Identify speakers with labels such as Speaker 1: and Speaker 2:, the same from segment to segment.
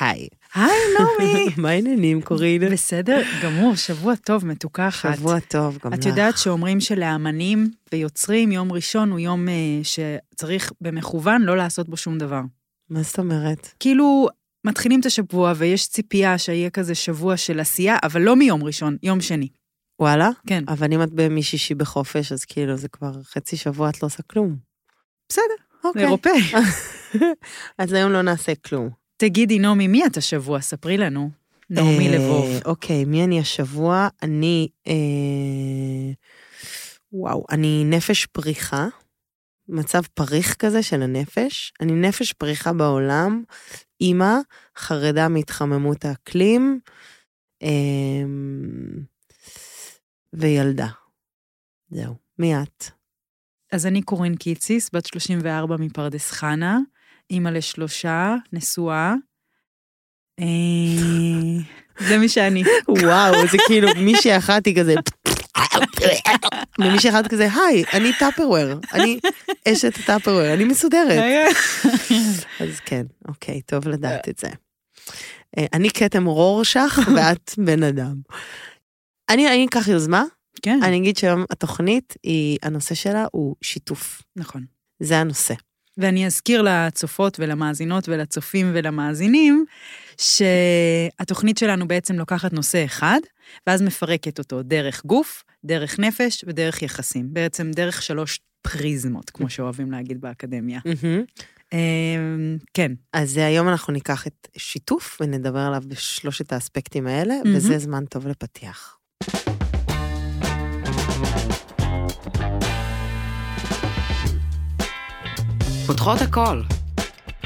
Speaker 1: היי.
Speaker 2: היי, נעמי.
Speaker 1: מה העניינים, קורין?
Speaker 2: בסדר גמור, שבוע טוב, מתוקה אחת.
Speaker 1: שבוע טוב, גם לך.
Speaker 2: את יודעת שאומרים שלאמנים ויוצרים, יום ראשון הוא יום אה, שצריך במכוון לא לעשות בו שום דבר.
Speaker 1: מה זאת אומרת?
Speaker 2: כאילו, מתחילים את השבוע ויש ציפייה שיהיה כזה שבוע של עשייה, אבל לא מיום ראשון, יום שני.
Speaker 1: וואלה?
Speaker 2: כן.
Speaker 1: אבל אם את בימי שישי בחופש, אז כאילו זה כבר חצי שבוע את לא עושה כלום.
Speaker 2: בסדר,
Speaker 1: אוקיי.
Speaker 2: אירופאי.
Speaker 1: אז היום לא נעשה כלום.
Speaker 2: תגידי, נעמי, מי את השבוע? ספרי לנו. נעמי
Speaker 1: אה,
Speaker 2: לבוב.
Speaker 1: אוקיי, מי אני השבוע? אני... אה, וואו, אני נפש פריחה. מצב פריך כזה של הנפש. אני נפש פריחה בעולם, אימא, חרדה מהתחממות האקלים, אה, וילדה. זהו. מי את?
Speaker 2: אז אני קורין קיציס, בת 34 מפרדס חנה, אימא לשלושה, נשואה. אה, זה מי שאני.
Speaker 1: וואו, זה כאילו מישהי אחת היא כזה... ומישהי אחת כזה, היי, אני טאפרוויר, אני אשת הטאפרוויר, אני מסודרת. אז כן, אוקיי, טוב לדעת את זה. אה, אני כתם רורשך ואת בן אדם. אני אני אקח יוזמה,
Speaker 2: כן,
Speaker 1: אני אגיד שהיום התוכנית, היא- הנושא שלה הוא שיתוף.
Speaker 2: נכון.
Speaker 1: זה הנושא.
Speaker 2: ואני אזכיר לצופות ולמאזינות ולצופים ולמאזינים, שהתוכנית שלנו בעצם לוקחת נושא אחד, ואז מפרקת אותו דרך גוף, דרך נפש ודרך יחסים. בעצם דרך שלוש פריזמות, כמו שאוהבים להגיד באקדמיה.
Speaker 1: מהמם.
Speaker 2: אה, כן,
Speaker 1: אז אה, היום אנחנו ניקח את שיתוף ונדבר עליו בשלושת האספקטים האלה,
Speaker 2: מהמם.
Speaker 1: וזה זמן טוב לפתיח.
Speaker 3: פותחות הכל,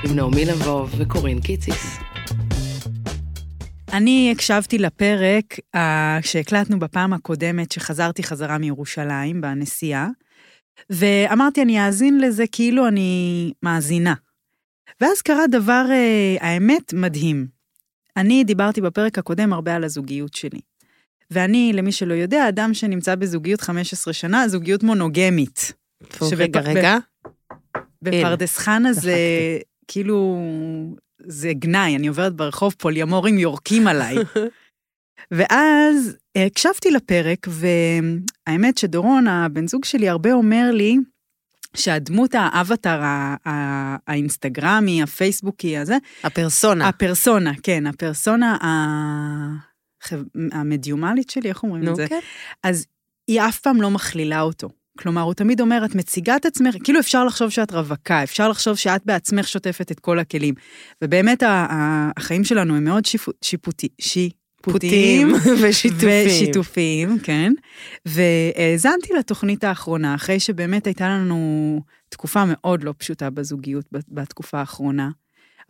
Speaker 3: עם נעמי לבוב וקורין קיציס.
Speaker 2: אני הקשבתי לפרק uh, שהקלטנו בפעם הקודמת, שחזרתי חזרה מירושלים בנסיעה, ואמרתי, אני אאזין לזה כאילו אני מאזינה. ואז קרה דבר, uh, האמת, מדהים. אני דיברתי בפרק הקודם הרבה על הזוגיות שלי. ואני, למי שלא יודע, אדם שנמצא בזוגיות 15 שנה, זוגיות מונוגמית.
Speaker 1: טוב,
Speaker 2: שבפ-
Speaker 1: רגע, רגע.
Speaker 2: בפרדס חנה זה
Speaker 1: דחקתי.
Speaker 2: כאילו, זה גנאי, אני עוברת ברחוב, פוליאמורים יורקים עליי. ואז אה, הקשבתי לפרק, והאמת שדורון, הבן זוג שלי, הרבה אומר לי שהדמות האבטר, ה- ה- האינסטגרמי, הפייסבוקי הזה,
Speaker 1: הפרסונה.
Speaker 2: הפרסונה, כן, הפרסונה ה- המדיומלית שלי, איך אומרים את זה?
Speaker 1: כן.
Speaker 2: אז היא אף פעם לא מכלילה אותו. כלומר, הוא תמיד אומר, את מציגה את עצמך, כאילו אפשר לחשוב שאת רווקה, אפשר לחשוב שאת בעצמך שוטפת את כל הכלים. ובאמת, ה- ה- החיים שלנו הם מאוד שיפו- שיפוטי- שיפוטיים.
Speaker 1: פוטים ושיתופים.
Speaker 2: ושיתופים, כן. והאזנתי לתוכנית האחרונה, אחרי שבאמת הייתה לנו תקופה מאוד לא פשוטה בזוגיות בת- בתקופה האחרונה.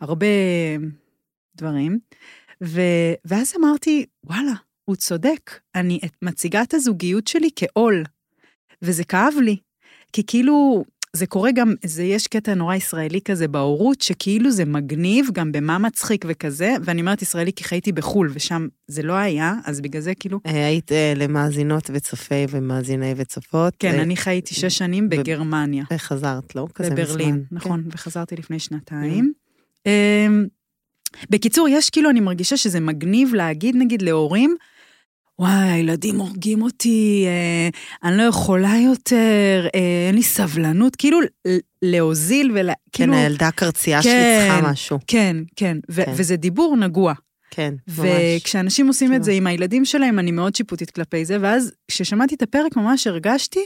Speaker 2: הרבה דברים. ו... ואז אמרתי, וואלה, הוא צודק, אני את- מציגה את הזוגיות שלי כעול. וזה כאב לי, כי כאילו, זה קורה גם, זה יש קטע נורא ישראלי כזה בהורות, שכאילו זה מגניב, גם במה מצחיק וכזה, ואני אומרת ישראלי כי חייתי בחו"ל, ושם זה לא היה, אז בגלל זה כאילו,
Speaker 1: אה, היית אה, למאזינות וצופי ומאזיני וצופות.
Speaker 2: כן,
Speaker 1: אה,
Speaker 2: אני חייתי שש שנים
Speaker 1: ב-
Speaker 2: בגרמניה,
Speaker 1: וחזרת, לא? כזה
Speaker 2: בברלין,
Speaker 1: מזמן. Mm.
Speaker 2: נכון, וחזרתי לפני שנתיים. אמ, בקיצור, יש כאילו, אני מרגישה שזה מגניב להגיד, נגיד, להורים, וואי, הילדים הורגים אותי, אה, אני לא יכולה יותר, אה, אין לי סבלנות, כאילו, ל- להוזיל ול...
Speaker 1: כן,
Speaker 2: כאילו,
Speaker 1: כן, הילדה הקרצייה שלי
Speaker 2: כן.
Speaker 1: צריכה משהו.
Speaker 2: כן, כן, ו-
Speaker 1: כן.
Speaker 2: וזה דיבור נגוע.
Speaker 1: כן, ממש.
Speaker 2: וכשאנשים עושים
Speaker 1: כאילו.
Speaker 2: את זה עם הילדים שלהם, אני מאוד שיפוטית כלפי זה, ואז כששמעתי את הפרק ממש הרגשתי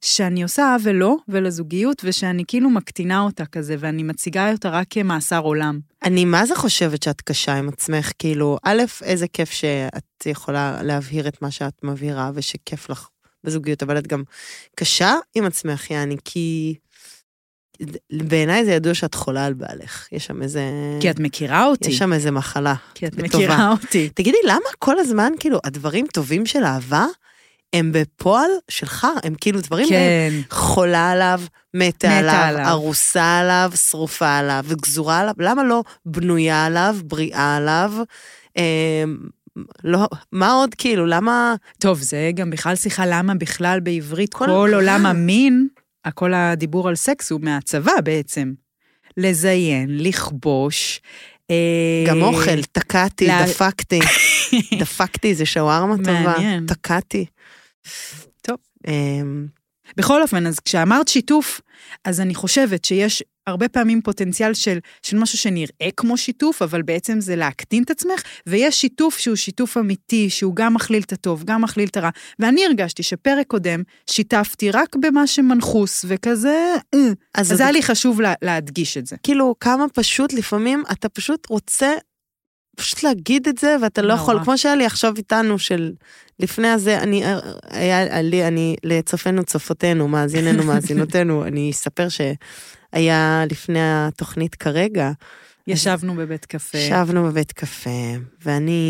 Speaker 2: שאני עושה עוול לו ולזוגיות, ושאני כאילו מקטינה אותה כזה, ואני מציגה אותה רק כמאסר עולם.
Speaker 1: אני מה זה חושבת שאת קשה עם עצמך? כאילו, א', איזה כיף שאת יכולה להבהיר את מה שאת מבהירה, ושכיף לך בזוגיות, אבל את גם קשה עם עצמך, יעני, כי... בעיניי זה ידוע שאת חולה על בעלך. יש שם איזה...
Speaker 2: כי את מכירה אותי.
Speaker 1: יש שם איזה מחלה.
Speaker 2: כי את
Speaker 1: בטובה.
Speaker 2: מכירה אותי.
Speaker 1: תגידי, למה כל הזמן, כאילו, הדברים טובים של אהבה הם בפועל שלך? הם כאילו דברים
Speaker 2: כן,
Speaker 1: חולה עליו, מתה
Speaker 2: מתה
Speaker 1: עליו,
Speaker 2: עליו.
Speaker 1: ארוסה עליו, שרופה עליו, גזורה עליו, למה לא בנויה עליו, בריאה עליו? אה, לא, מה עוד, כאילו, למה...
Speaker 2: טוב, זה גם בכלל שיחה למה בכלל בעברית
Speaker 1: כל
Speaker 2: כל, כל
Speaker 1: הזמן.
Speaker 2: עולם המין, כל הדיבור על סקס הוא מהצבא בעצם. לזיין, לכבוש, אה,
Speaker 1: גם אוכל, תקעתי,
Speaker 2: לה-
Speaker 1: דפקתי. דפקתי, זה שווארמה טובה.
Speaker 2: מעניין.
Speaker 1: תקעתי.
Speaker 2: טוב.
Speaker 1: אמ,
Speaker 2: בכל אופן, אז כשאמרת שיתוף, אז אני חושבת שיש הרבה פעמים פוטנציאל של, של משהו שנראה כמו שיתוף, אבל בעצם זה להקטין את עצמך, ויש שיתוף שהוא שיתוף אמיתי, שהוא גם מכליל את הטוב, גם מכליל את הרע. ואני הרגשתי שפרק קודם שיתפתי רק במה שמנחוס, וכזה... אה.
Speaker 1: אז
Speaker 2: אז
Speaker 1: זה
Speaker 2: היה לי חשוב לה, להדגיש את זה.
Speaker 1: כאילו כמה פשוט לפעמים אתה פשוט רוצה פשוט להגיד את זה ואתה לא
Speaker 2: נורא.
Speaker 1: יכול, כמו שהיה לי עכשיו איתנו של לפני הזה, אני, אה, היה לי, אני, לצופינו צופותינו, מאזיננו מאזינותינו, אני אספר שהיה לפני התוכנית כרגע,
Speaker 2: ישבנו בבית קפה,
Speaker 1: ישבנו בבית קפה, ואני...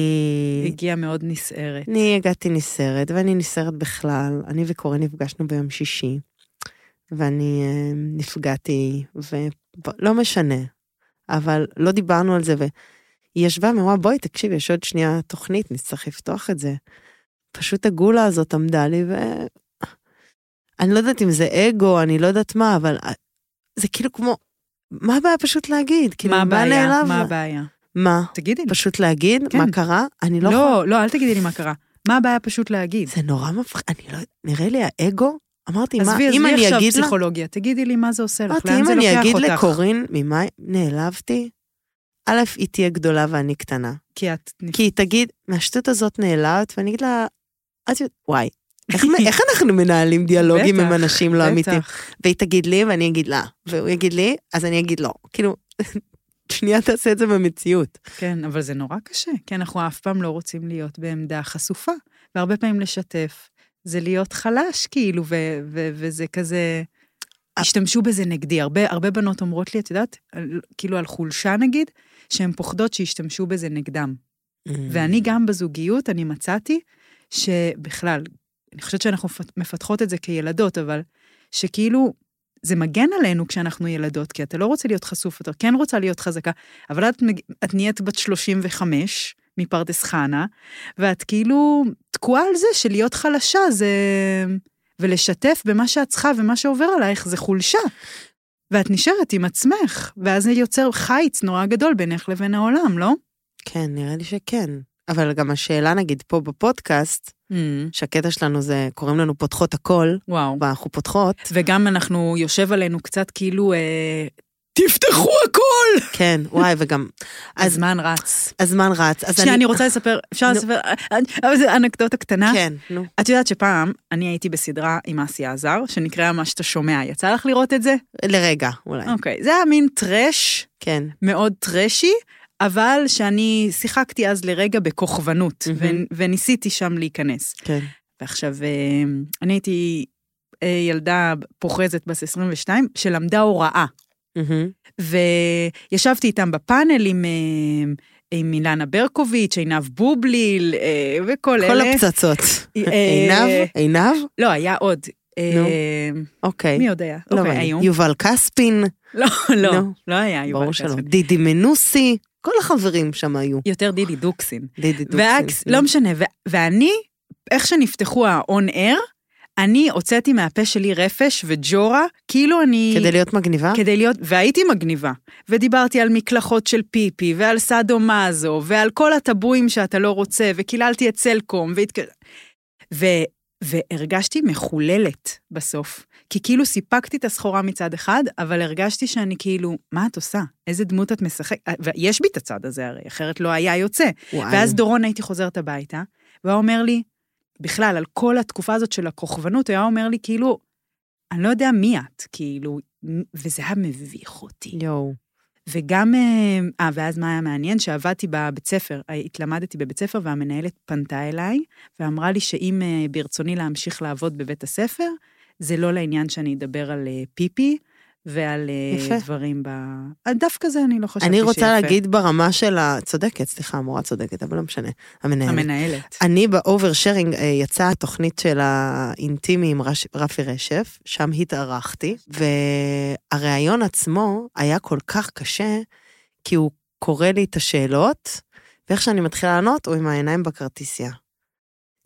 Speaker 2: הגיעה מאוד נסערת.
Speaker 1: אני הגעתי נסערת, ואני נסערת בכלל. אני וקורן נפגשנו ביום שישי, ואני אה, נפגעתי, ולא משנה, אבל לא דיברנו על זה, והיא ישבה ואמרה, בואי, תקשיבי, יש עוד שנייה תוכנית, נצטרך לפתוח את זה. פשוט הגולה הזאת עמדה לי, ו... אני לא יודעת אם זה אגו, אני לא יודעת מה, אבל אה, זה כאילו כמו, מה הבעיה פשוט להגיד? כאילו,
Speaker 2: מה הבעיה?
Speaker 1: נעלב?
Speaker 2: מה הבעיה?
Speaker 1: מה?
Speaker 2: תגידי לי.
Speaker 1: פשוט להגיד?
Speaker 2: כן.
Speaker 1: מה קרה? אני לא יכולה...
Speaker 2: לא, לא, אל תגידי לי מה קרה. מה הבעיה פשוט להגיד?
Speaker 1: זה נורא מפחיד, אני לא, נראה לי האגו, אמרתי, מה,
Speaker 2: עזבי,
Speaker 1: אם
Speaker 2: עזבי
Speaker 1: אני
Speaker 2: עכשיו
Speaker 1: אגיד לה,
Speaker 2: פסיכולוגיה, תגידי לי מה זה עושה לך,
Speaker 1: אמרתי,
Speaker 2: לאן
Speaker 1: אם
Speaker 2: זה
Speaker 1: אני
Speaker 2: לוקח
Speaker 1: אגיד
Speaker 2: אותך.
Speaker 1: לקורין ממה נעלבתי, א', היא תהיה גדולה ואני קטנה.
Speaker 2: כי את...
Speaker 1: כי היא תגיד, מהשטות הזאת נעלבת, ואני אגיד לה, את יודעת, וואי, איך, איך אנחנו מנהלים דיאלוגים עם
Speaker 2: בטח,
Speaker 1: אנשים לא
Speaker 2: בטח.
Speaker 1: אמיתיים? והיא תגיד לי ואני אגיד לה, והוא יגיד לי, אז אני אגיד לא. כאילו, שנייה תעשה את זה במציאות.
Speaker 2: כן, אבל זה נורא קשה, כי אנחנו אף פעם לא רוצים להיות בעמדה חשופה, והרבה פעמים לשתף. זה להיות חלש, כאילו, ו- ו- וזה כזה...
Speaker 1: אה.
Speaker 2: השתמשו בזה נגדי. הרבה, הרבה בנות אומרות לי, את יודעת, על- כאילו על חולשה נגיד, שהן פוחדות שישתמשו בזה נגדם. ואני גם בזוגיות, אני מצאתי שבכלל, אני חושבת שאנחנו מפת- מפתחות את זה כילדות, אבל שכאילו, זה מגן עלינו כשאנחנו ילדות, כי אתה לא רוצה להיות חשוף, אתה כן רוצה להיות חזקה, אבל את, מג- את נהיית בת 35 מפרדס חנה, ואת כאילו תקועה על זה שלהיות חלשה זה... ולשתף במה שאת צריכה ומה שעובר עלייך זה חולשה. ואת נשארת עם עצמך, ואז זה יוצר חיץ נורא גדול בינך לבין העולם, לא?
Speaker 1: כן, נראה לי שכן. אבל גם השאלה, נגיד, פה בפודקאסט, שהקטע שלנו זה, קוראים לנו פותחות הכל,
Speaker 2: וואו.
Speaker 1: אנחנו פותחות,
Speaker 2: וגם אנחנו, יושב עלינו קצת כאילו, אה, תפתחו הכל!
Speaker 1: כן, וואי, וגם אז-
Speaker 2: הזמן רץ.
Speaker 1: הזמן רץ. אז
Speaker 2: שנייה,
Speaker 1: אני-
Speaker 2: אני רוצה לספר, אפשר
Speaker 1: נו.
Speaker 2: לספר, אה, אה, אבל זו אנקדוטה קטנה.
Speaker 1: כן, נו.
Speaker 2: את יודעת שפעם אני הייתי בסדרה עם אסי עזר, שנקראה מה שאתה שומע, יצא לך לראות את זה?
Speaker 1: לרגע, אולי.
Speaker 2: אוקיי. זה היה מין טרש,
Speaker 1: כן.
Speaker 2: מאוד טרשי, אבל שאני שיחקתי אז לרגע בכוכבנות,
Speaker 1: מהמם.
Speaker 2: ו- וניסיתי שם להיכנס.
Speaker 1: כן.
Speaker 2: ועכשיו, אה, אני הייתי אה, ילדה פוחזת בת 22, שלמדה הוראה.
Speaker 1: מהמם.
Speaker 2: וישבתי איתם בפאנל עם, אה, עם אילנה ברקוביץ', עינב בובליל אה, וכל
Speaker 1: כל
Speaker 2: אלה.
Speaker 1: הפצצות.
Speaker 2: אה,
Speaker 1: עינב? עינב?
Speaker 2: לא, היה עוד. אה,
Speaker 1: נו. אוקיי.
Speaker 2: מי עוד היה?
Speaker 1: לא
Speaker 2: אוקיי,
Speaker 1: מעניין.
Speaker 2: היו.
Speaker 1: יובל כספין,
Speaker 2: לא, לא,
Speaker 1: נו.
Speaker 2: לא היה יובל
Speaker 1: ברור
Speaker 2: כספין.
Speaker 1: שלא. דידי מנוסי, כל החברים שם היו.
Speaker 2: יותר דידי דוקסין.
Speaker 1: דידי דוקסין. כן. Mm.
Speaker 2: והאקס, לא משנה, ו- ואני, איך שנפתחו ה-on air, אני הוצאתי מהפה שלי רפש וג'ורה, כאילו אני...
Speaker 1: כדי להיות מגניבה?
Speaker 2: כדי להיות, והייתי מגניבה. ודיברתי על מקלחות של פיפי, ועל סאדו מאזו, ועל כל הטבואים שאתה לא רוצה, וקיללתי את סלקום, והתק... ו... והרגשתי מחוללת בסוף. כי כאילו סיפקתי את הסחורה מצד אחד, אבל הרגשתי שאני כאילו, מה את עושה? איזה דמות את משחקת? ויש בי את הצד הזה הרי, אחרת לא היה יוצא.
Speaker 1: וואי.
Speaker 2: ואז דורון הייתי חוזרת הביתה, והוא היה אומר לי, בכלל, על כל התקופה הזאת של הכוכבנות, הוא היה אומר לי, כאילו, אני לא יודע מי את, כאילו, וזה היה מביך אותי.
Speaker 1: יואו.
Speaker 2: וגם, אה, אה, ואז מה היה מעניין? שעבדתי בבית ספר, אה, התלמדתי בבית ספר, והמנהלת פנתה אליי, ואמרה לי שאם אה, ברצוני להמשיך לעבוד בבית הספר, זה לא לעניין שאני אדבר על אה, פיפי. ועל אה,
Speaker 1: יפה.
Speaker 2: דברים ב... אה, דווקא זה אני לא חשבתי
Speaker 1: אני
Speaker 2: שיפה.
Speaker 1: רוצה להגיד ברמה של ה... צודקת, סליחה, המורה צודקת, אבל לא משנה. המנהלת.
Speaker 2: המנהלת.
Speaker 1: אני באובר שרינג אה, יצאה התוכנית של האינטימי עם רש- רפי רשף, שם התארחתי, והריאיון עצמו היה כל כך קשה, כי הוא קורא לי את השאלות, ואיך שאני מתחילה לענות, הוא עם העיניים בכרטיסייה.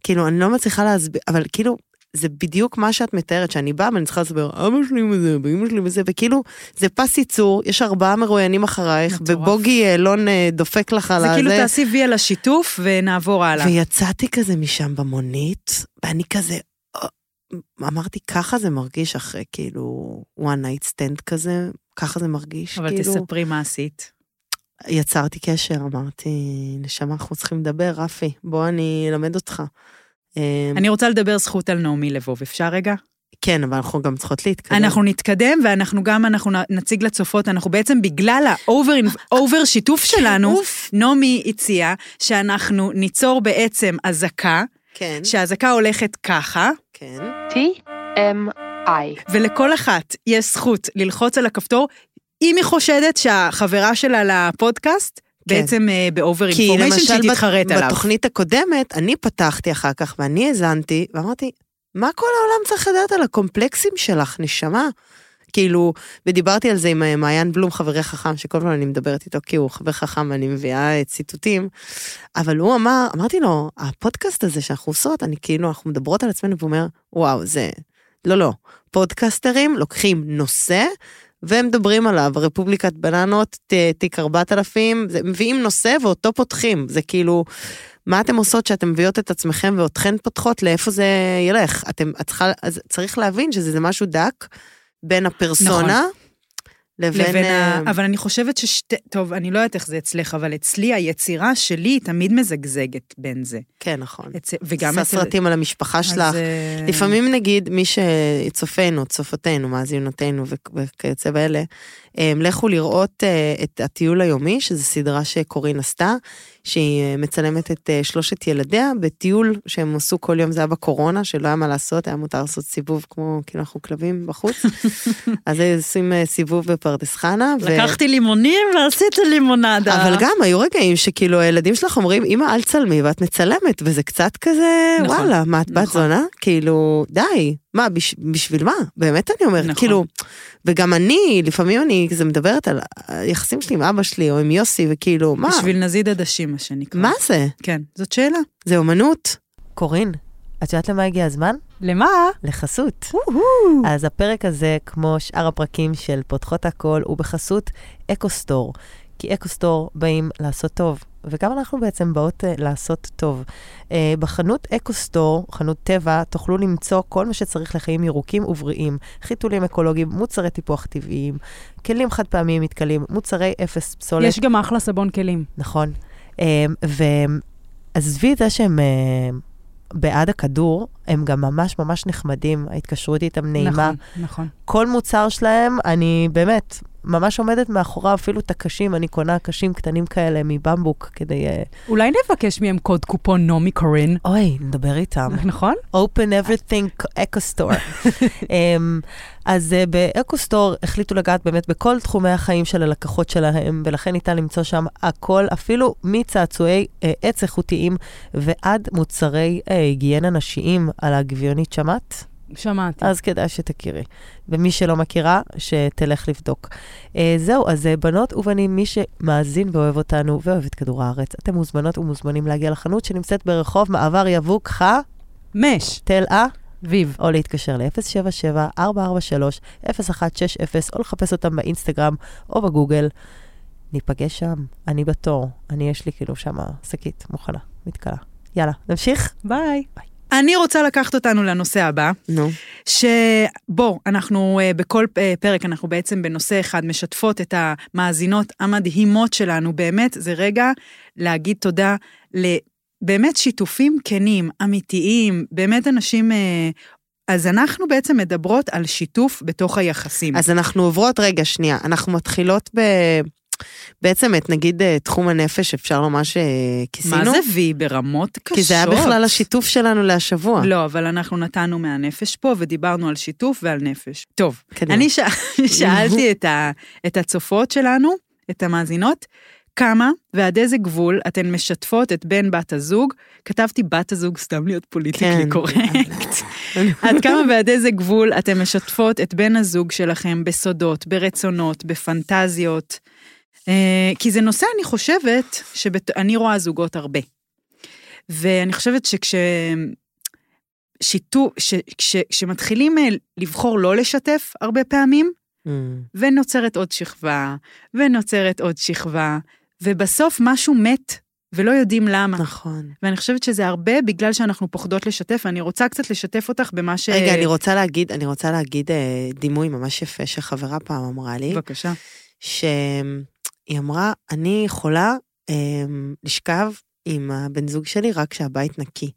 Speaker 1: כאילו, אני לא מצליחה להסביר, אבל כאילו, זה בדיוק מה שאת מתארת, שאני באה ואני צריכה לספר, אבא שלי מזה, ואמא שלי מזה, וכאילו, זה פס ייצור, יש ארבעה מרואיינים אחרייך,
Speaker 2: מטורף.
Speaker 1: ובוגי יעלון אה, דופק לך על
Speaker 2: זה
Speaker 1: הזה.
Speaker 2: כאילו תעשי וי על השיתוף ונעבור הלאה.
Speaker 1: ויצאתי כזה משם במונית, ואני כזה, "אה", אמרתי, ככה זה מרגיש אחרי כאילו one night stand כזה, ככה זה מרגיש,
Speaker 2: אבל
Speaker 1: כאילו.
Speaker 2: תספרי מה עשית.
Speaker 1: יצרתי קשר, אמרתי, נשמה, אנחנו צריכים לדבר, רפי, בוא אני אלמד אותך. אמ,
Speaker 2: אני רוצה לדבר זכות על נעמי לבוב, אפשר רגע?
Speaker 1: כן, אבל אנחנו גם צריכות להתקדם.
Speaker 2: אנחנו נתקדם, ואנחנו גם, אנחנו נ- נציג לצופות, אנחנו בעצם בגלל האובר שיתוף שלנו, נעמי הציעה שאנחנו ניצור בעצם אזעקה,
Speaker 1: כן,
Speaker 2: שהאזעקה הולכת ככה,
Speaker 1: כן.
Speaker 4: TMI.
Speaker 2: ולכל אחת יש זכות ללחוץ על הכפתור, אם היא חושדת שהחברה שלה לפודקאסט,
Speaker 1: כן.
Speaker 2: בעצם אה, באובר
Speaker 1: כי
Speaker 2: אינפורמיישן
Speaker 1: למשל
Speaker 2: שהיא
Speaker 1: בת-
Speaker 2: תתחרט עליו.
Speaker 1: בתוכנית הקודמת, אני פתחתי אחר כך ואני האזנתי, ואמרתי, מה כל העולם צריך לדעת על הקומפלקסים שלך, נשמה? כאילו, ודיברתי על זה עם אה, מעיין בלום, חברי חכם, שכל פעם אני מדברת איתו, כי הוא חבר חכם ואני מביאה אה, ציטוטים, אבל הוא אמר, אמרתי לו, הפודקאסט הזה שאנחנו עושות, אני כאילו, אנחנו מדברות על עצמנו, והוא אומר, וואו, זה... לא, לא. פודקסטרים לוקחים נושא, ומדברים עליו, רפובליקת בננות, ת- תיק 4000, זה, מביאים נושא ואותו פותחים, זה כאילו, מה אתם עושות שאתם מביאות את עצמכם ואותכן פותחות, לאיפה זה ילך? אתם, את צריכה, אז צריך להבין שזה זה משהו דק בין הפרסונה נכון. לבין...
Speaker 2: לבין ה...
Speaker 1: אה,
Speaker 2: אבל אני חושבת ששתי... טוב, אני לא יודעת איך זה אצלך, אבל אצלי היצירה שלי היא תמיד מזגזגת בין זה.
Speaker 1: כן, נכון.
Speaker 2: אצל... וגם
Speaker 1: גם סרטים על המשפחה שלך.
Speaker 2: אז, אה,
Speaker 1: לפעמים נגיד מי שצופינו, צופותינו, מאזינותינו וכ- וכיוצא באלה, אה, לכו לראות אה, את הטיול היומי, שזו סדרה שקורין עשתה, שהיא אה, מצלמת את אה, שלושת ילדיה בטיול שהם עשו כל יום, זה היה בקורונה, שלא היה מה לעשות, היה מותר לעשות סיבוב כמו כאילו אנחנו כלבים בחוץ. אז היו עושים אה, סיבוב בפרדס חנה. ו-
Speaker 2: לקחתי לימונים ועשיתי לימונדה.
Speaker 1: אבל גם היו רגעים שכאילו הילדים שלך אומרים, אמא אל צלמי ואת מצלמת, וזה קצת כזה,
Speaker 2: נכון,
Speaker 1: וואלה, מה את בת
Speaker 2: נכון.
Speaker 1: זונה? כאילו, די, מה, בש, בשביל מה? באמת אני אומרת,
Speaker 2: נכון.
Speaker 1: כאילו, וגם אני, לפעמים אני כזה מדברת על היחסים שלי עם אבא שלי או עם יוסי, וכאילו, מה,
Speaker 2: בשביל נזיד עדשים, מה שנקרא.
Speaker 1: מה זה?
Speaker 2: כן, זאת שאלה.
Speaker 1: זה אומנות. קורין, את יודעת למה הגיע הזמן?
Speaker 4: למה?
Speaker 1: לחסות. אז הפרק הזה, כמו שאר הפרקים של פותחות הכל, הוא בחסות אקו-סטור. כי אקו-סטור באים לעשות טוב, וגם אנחנו בעצם באות אה, לעשות טוב. אה, בחנות אקו-סטור, חנות טבע, תוכלו למצוא כל מה שצריך לחיים ירוקים ובריאים, חיתולים אקולוגיים, מוצרי טיפוח טבעיים, כלים חד פעמיים מתכלים, מוצרי אפס פסולת.
Speaker 4: יש גם אחלה סבון כלים.
Speaker 1: נכון. אמ, ועזבי את זה שהם אמ, בעד הכדור, הם גם ממש ממש נחמדים, ההתקשרות איתם נעימה.
Speaker 4: נכון, נכון.
Speaker 1: כל מוצר שלהם, אני באמת ממש עומדת מאחוריו, אפילו את הקשים, אני קונה קשים קטנים כאלה מבמבוק כדי... אה,
Speaker 4: אולי נבקש מהם קוד קופון נעמי קורין.
Speaker 1: אוי, נדבר איתם.
Speaker 4: נכון?
Speaker 1: open everything eco store. אמ, אז אה, באקו סטור החליטו לגעת באמת בכל תחומי החיים של הלקוחות שלהם, ולכן ניתן למצוא שם הכל, אפילו מצעצועי אה, עץ איכותיים ועד מוצרי אה, היגיינה נשיים על הגביונית שמעת?
Speaker 2: כן.
Speaker 4: שמעתי.
Speaker 1: אז כדאי שתכירי. ומי שלא מכירה, שתלך לבדוק. אה, זהו, אז אה, בנות ובנים, מי שמאזין ואוהב אותנו ואוהב את כדור הארץ, אתם מוזמנות ומוזמנים להגיע לחנות שנמצאת ברחוב מעבר יבוק חתל
Speaker 4: מש,
Speaker 1: אה?
Speaker 4: ויב.
Speaker 1: או להתקשר ל-077-443-0160, או לחפש אותם באינסטגרם או בגוגל. ניפגש שם, אני בתור, אני יש לי כאילו שמה שקית מוכנה, מתקלה. יאללה, נמשיך?
Speaker 4: ביי.
Speaker 2: אני רוצה לקחת אותנו לנושא הבא,
Speaker 1: נו.
Speaker 2: שבו אנחנו אה, בכל אה, פרק, אנחנו בעצם בנושא אחד משתפות את המאזינות המדהימות שלנו, באמת, זה רגע להגיד תודה ל... באמת שיתופים כנים, אמיתיים, באמת אנשים... אה, אז אנחנו בעצם מדברות על שיתוף בתוך היחסים.
Speaker 1: אז אנחנו עוברות, רגע, שנייה, אנחנו מתחילות ב... בעצם את נגיד אה, תחום הנפש, אפשר לומר שכיסינו?
Speaker 2: מה זה וי? ברמות קשות.
Speaker 1: כי זה היה בכלל השיתוף שלנו להשבוע.
Speaker 2: לא, אבל אנחנו נתנו מהנפש פה ודיברנו על שיתוף ועל נפש. טוב,
Speaker 1: קדימה.
Speaker 2: אני ש... שאלתי את, ה... את הצופות שלנו, את המאזינות, כמה ועד איזה גבול אתן משתפות את בן בת הזוג, כתבתי בת הזוג סתם להיות פוליטיקלי
Speaker 1: כן.
Speaker 2: קורקט, עד כמה ועד איזה גבול אתן משתפות את בן הזוג שלכם בסודות, ברצונות, בפנטזיות. אה, כי זה נושא, אני חושבת, שאני רואה זוגות הרבה. ואני חושבת שכש... שיתוף, ש- כש- כשמתחילים אה, לבחור לא לשתף הרבה פעמים,
Speaker 1: אמ,
Speaker 2: ונוצרת עוד שכבה, ונוצרת עוד שכבה, ובסוף משהו מת, ולא יודעים למה.
Speaker 1: נכון.
Speaker 2: ואני חושבת שזה הרבה בגלל שאנחנו פוחדות לשתף, ואני רוצה קצת לשתף אותך במה ש...
Speaker 1: רגע, אני רוצה להגיד, אני רוצה להגיד אה, דימוי ממש יפה שחברה פעם אמרה לי,
Speaker 2: בבקשה.
Speaker 1: שהיא אמרה, אני יכולה אמ, לשכב עם הבן זוג שלי רק כשהבית נקי.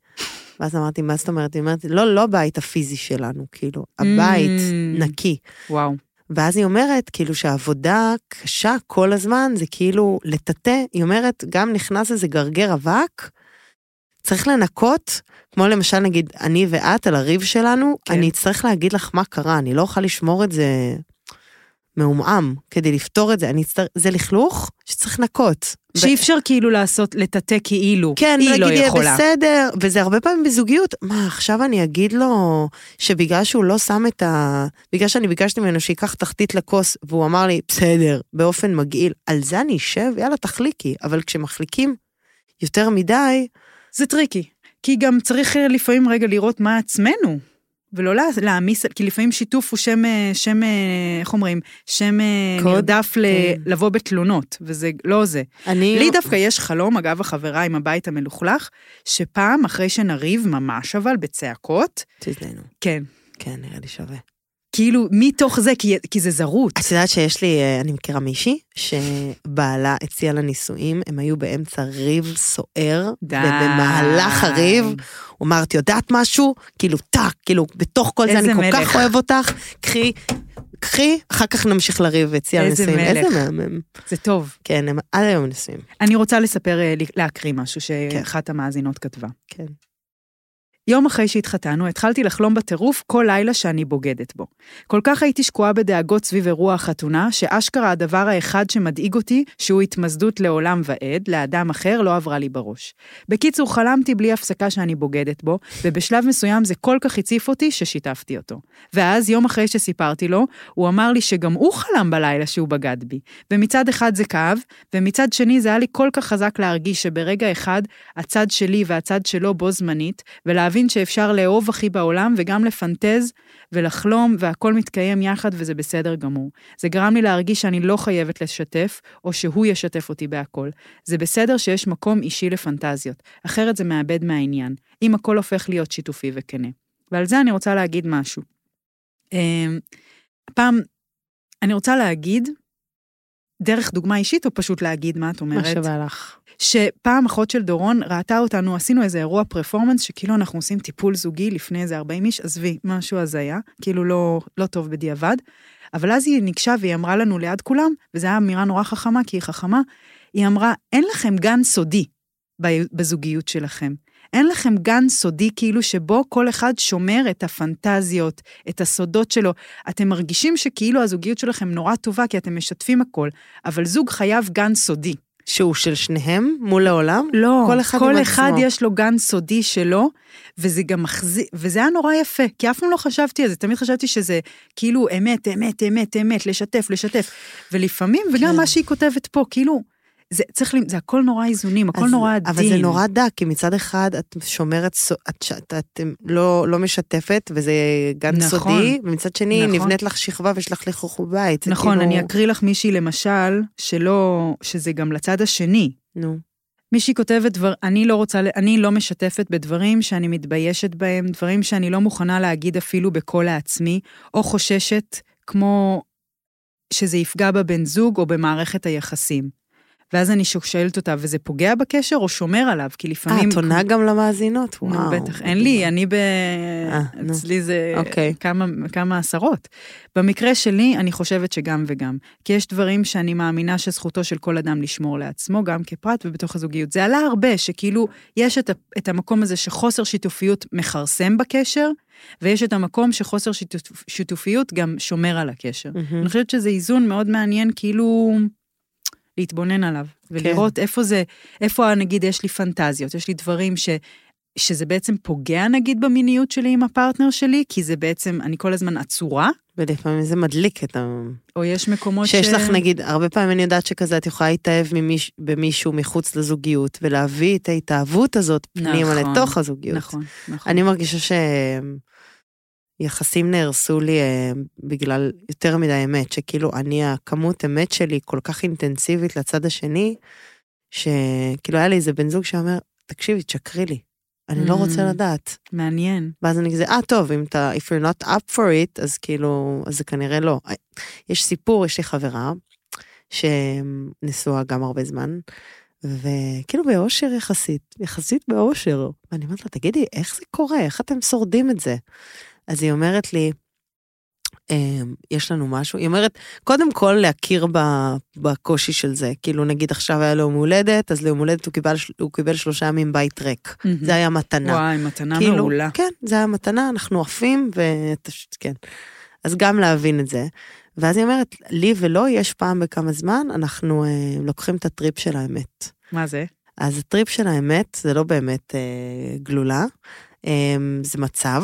Speaker 1: ואז אמרתי, מה זאת אומרת? היא אומרת, לא, לא הבית הפיזי שלנו, כאילו, הבית
Speaker 2: Mm.
Speaker 1: נקי.
Speaker 2: וואו.
Speaker 1: ואז היא אומרת, כאילו שהעבודה קשה כל הזמן, זה כאילו לטאטא, היא אומרת, גם נכנס איזה גרגר אבק, צריך לנקות, כמו למשל נגיד, אני ואת על הריב שלנו,
Speaker 2: כן.
Speaker 1: כן. אני אצטרך להגיד לך מה קרה, אני לא אוכל לשמור את זה מעומעם כדי לפתור את זה, אני אצטרך, זה לכלוך שצריך לנקות.
Speaker 2: שאי אפשר כאילו לעשות, לטאטא כאילו,
Speaker 1: כן,
Speaker 2: היא לא
Speaker 1: ולהגיד לי,
Speaker 2: יכולה.
Speaker 1: בסדר, וזה הרבה פעמים בזוגיות. מה, עכשיו אני אגיד לו שבגלל שהוא לא שם את ה... בגלל שאני ביקשתי ממנו שייקח תחתית לכוס, והוא אמר לי, בסדר, באופן מגעיל, על זה אני אשב? יאללה, תחליקי. אבל כשמחליקים יותר מדי,
Speaker 2: זה טריקי. כי גם צריך אה, לפעמים רגע לראות מה עצמנו, ולא לה- להעמיס, כי לפעמים שיתוף הוא שם, אה, שם אה, איך אומרים? שם אה,
Speaker 1: קוד,
Speaker 2: נרדף ל-
Speaker 1: כן.
Speaker 2: לבוא בתלונות, וזה לא זה.
Speaker 1: אני...
Speaker 2: לי דווקא יש חלום, אגב, החברה עם הבית המלוכלך, שפעם אחרי שנריב ממש אבל, בצעקות,
Speaker 1: תזדיינו.
Speaker 2: כן,
Speaker 1: כן, נראה לי שווה.
Speaker 2: כאילו מתוך זה, כי, כי זה זרות.
Speaker 1: את יודעת שיש לי, אה, אני מכירה מישהי, שבעלה הציע לה נישואים, הם היו באמצע ריב סוער,
Speaker 2: די.
Speaker 1: ובמהלך הריב, הוא אמר, את יודעת משהו? כאילו, טאק, כאילו, בתוך כל זה
Speaker 2: איזה
Speaker 1: אני כל
Speaker 2: מלך.
Speaker 1: כך אוהב אותך, קחי, קחי, אחר כך נמשיך לריב והציע
Speaker 2: איזה
Speaker 1: לנישואים.
Speaker 2: מלך.
Speaker 1: איזה מהמם.
Speaker 2: זה טוב.
Speaker 1: כן, הם עד היום נשואים.
Speaker 2: אני רוצה לספר, אה, להקריא משהו שאחת המאזינות כתבה.
Speaker 1: כן.
Speaker 2: יום אחרי שהתחתנו, התחלתי לחלום בטירוף כל לילה שאני בוגדת בו. כל כך הייתי שקועה בדאגות סביב אירוע החתונה, שאשכרה הדבר האחד שמדאיג אותי, שהוא התמסדות לעולם ועד, לאדם אחר, לא עברה לי בראש. בקיצור, חלמתי בלי הפסקה שאני בוגדת בו, ובשלב מסוים זה כל כך הציף אותי, ששיתפתי אותו. ואז, יום אחרי שסיפרתי לו, הוא אמר לי שגם הוא חלם בלילה שהוא בגד בי. ומצד אחד זה כאב, ומצד שני זה היה לי כל כך חזק להרגיש שברגע אחד, הצד שלי והצד שלו בו זמנית, ולהבין שאפשר לאהוב הכי בעולם וגם לפנטז ולחלום, והכל מתקיים יחד וזה בסדר גמור. זה גרם לי להרגיש שאני לא חייבת לשתף, או שהוא ישתף אותי בהכל. זה בסדר שיש מקום אישי לפנטזיות, אחרת זה מאבד מהעניין, אם הכל הופך להיות שיתופי וכנה. ועל זה אני רוצה להגיד משהו. אמ, פעם, אני רוצה להגיד, דרך דוגמה אישית, או פשוט להגיד מה את אומרת?
Speaker 1: מה שבא לך.
Speaker 2: שפעם אחות של דורון ראתה אותנו, עשינו איזה אירוע פרפורמנס, שכאילו אנחנו עושים טיפול זוגי לפני איזה 40 איש, עזבי, משהו הזיה, כאילו לא, לא טוב בדיעבד. אבל אז היא ניגשה והיא אמרה לנו ליד כולם, וזו הייתה אמירה נורא חכמה, כי היא חכמה, היא אמרה, אין לכם גן סודי ב- בזוגיות שלכם. אין לכם גן סודי כאילו שבו כל אחד שומר את הפנטזיות, את הסודות שלו. אתם מרגישים שכאילו הזוגיות שלכם נורא טובה, כי אתם משתפים הכל, אבל זוג חייב גן סודי.
Speaker 1: שהוא של שניהם מול העולם?
Speaker 2: לא, כל
Speaker 1: כל
Speaker 2: אחד,
Speaker 1: אחד
Speaker 2: כל
Speaker 1: עם
Speaker 2: אחד
Speaker 1: עצמו.
Speaker 2: יש לו גן סודי שלו, וזה גם מחזיק, וזה היה נורא יפה, כי אף פעם לא חשבתי על זה, תמיד חשבתי שזה כאילו אמת, אמת, אמת, אמת, לשתף, לשתף. ולפעמים, וגם
Speaker 1: כן.
Speaker 2: מה שהיא כותבת פה, כאילו, זה צריך, ל- זה הכל נורא איזונים, הכל
Speaker 1: אז-
Speaker 2: נורא עדין.
Speaker 1: אבל זה נורא דק, כי מצד אחד את שומרת, סו- את, ש- את, את לא, לא משתפת, וזה גן
Speaker 2: נכון.
Speaker 1: סודי, ומצד שני
Speaker 2: נכון.
Speaker 1: נבנית לך שכבה ויש לך לכלוך בבית. זה
Speaker 2: נכון,
Speaker 1: כאילו-
Speaker 2: אני אקריא לך מישהי למשל, שלא, שזה גם לצד השני,
Speaker 1: נו,
Speaker 2: מישהי כותבת, דבר, אני, לא רוצה, ל- אני לא משתפת בדברים שאני מתביישת בהם, דברים שאני לא מוכנה להגיד אפילו בקול העצמי, או חוששת כמו שזה יפגע בבן זוג או במערכת היחסים. ואז אני שואלת אותה, וזה פוגע בקשר או שומר עליו? כי
Speaker 1: אה,
Speaker 2: לפעמים...
Speaker 1: את עונה גם למאזינות?
Speaker 2: נו,
Speaker 1: וואו. אה,
Speaker 2: בטח, אין לי, אני ב...
Speaker 1: נו.
Speaker 2: אצלי זה
Speaker 1: אוקיי.
Speaker 2: כמה, כמה עשרות. במקרה שלי, אני חושבת שגם וגם. כי יש דברים שאני מאמינה שזכותו של כל אדם לשמור לעצמו, גם כפרט ובתוך הזוגיות. זה עלה הרבה, שכאילו, יש את, ה- את המקום הזה שחוסר שיתופיות מכרסם בקשר, ויש את המקום שחוסר שיתופ, שיתופיות גם שומר על הקשר.
Speaker 1: מהמם.
Speaker 2: אני חושבת שזה איזון מאוד מעניין, כאילו...
Speaker 1: כן.
Speaker 2: להתבונן עליו, ולראות איפה זה, איפה נגיד יש לי פנטזיות, יש לי דברים ש... שזה בעצם פוגע נגיד במיניות שלי עם הפרטנר שלי, כי זה בעצם, אני כל הזמן עצורה,
Speaker 1: ולפעמים זה מדליק את ה...
Speaker 2: או יש מקומות
Speaker 1: שיש לך נגיד, הרבה פעמים אני יודעת שכזה את יכולה להתאהב ממיש... במישהו מחוץ לזוגיות, ולהביא את ההתאהבות הזאת פנימה
Speaker 2: נכון,
Speaker 1: לתוך הזוגיות.
Speaker 2: נכון, נכון.
Speaker 1: אני מרגישה שיחסים נהרסו לי אה, בגלל יותר מדי אמת, שכאילו אני, הכמות אמת שלי כל כך אינטנסיבית לצד השני, שכאילו היה לי איזה בן זוג שאומר, תקשיבי, תשקרי לי, אני לא רוצה
Speaker 2: Mm.
Speaker 1: לדעת.
Speaker 2: מעניין.
Speaker 1: ואז אני כזה, אה, טוב, אם אתה, if you're not up for it, אז כאילו, אז זה כנראה לא. יש סיפור, יש לי חברה שנשואה גם הרבה זמן, וכאילו באושר יחסית, יחסית באושר. ואני אומרת לה, תגידי, איך זה קורה? איך אתם שורדים את זה? אז היא אומרת לי, "אמ, יש לנו משהו, היא אומרת, קודם כל להכיר ב- בקושי של זה. כאילו, נגיד עכשיו היה לו יום הולדת, אז ליום הולדת הוא קיבל, הוא קיבל שלושה ימים בית ריק.
Speaker 2: Mm.
Speaker 1: זה היה מתנה.
Speaker 2: וואי, מתנה
Speaker 1: כאילו,
Speaker 2: מעולה.
Speaker 1: כן, זה המתנה, אנחנו עפים, ו... כן. אז גם להבין את זה. ואז היא אומרת, לי ולא יש פעם בכמה זמן, אנחנו אה, לוקחים את הטריפ של האמת.
Speaker 2: מה זה?
Speaker 1: אז הטריפ של האמת, זה לא באמת אה, גלולה, אה, זה מצב,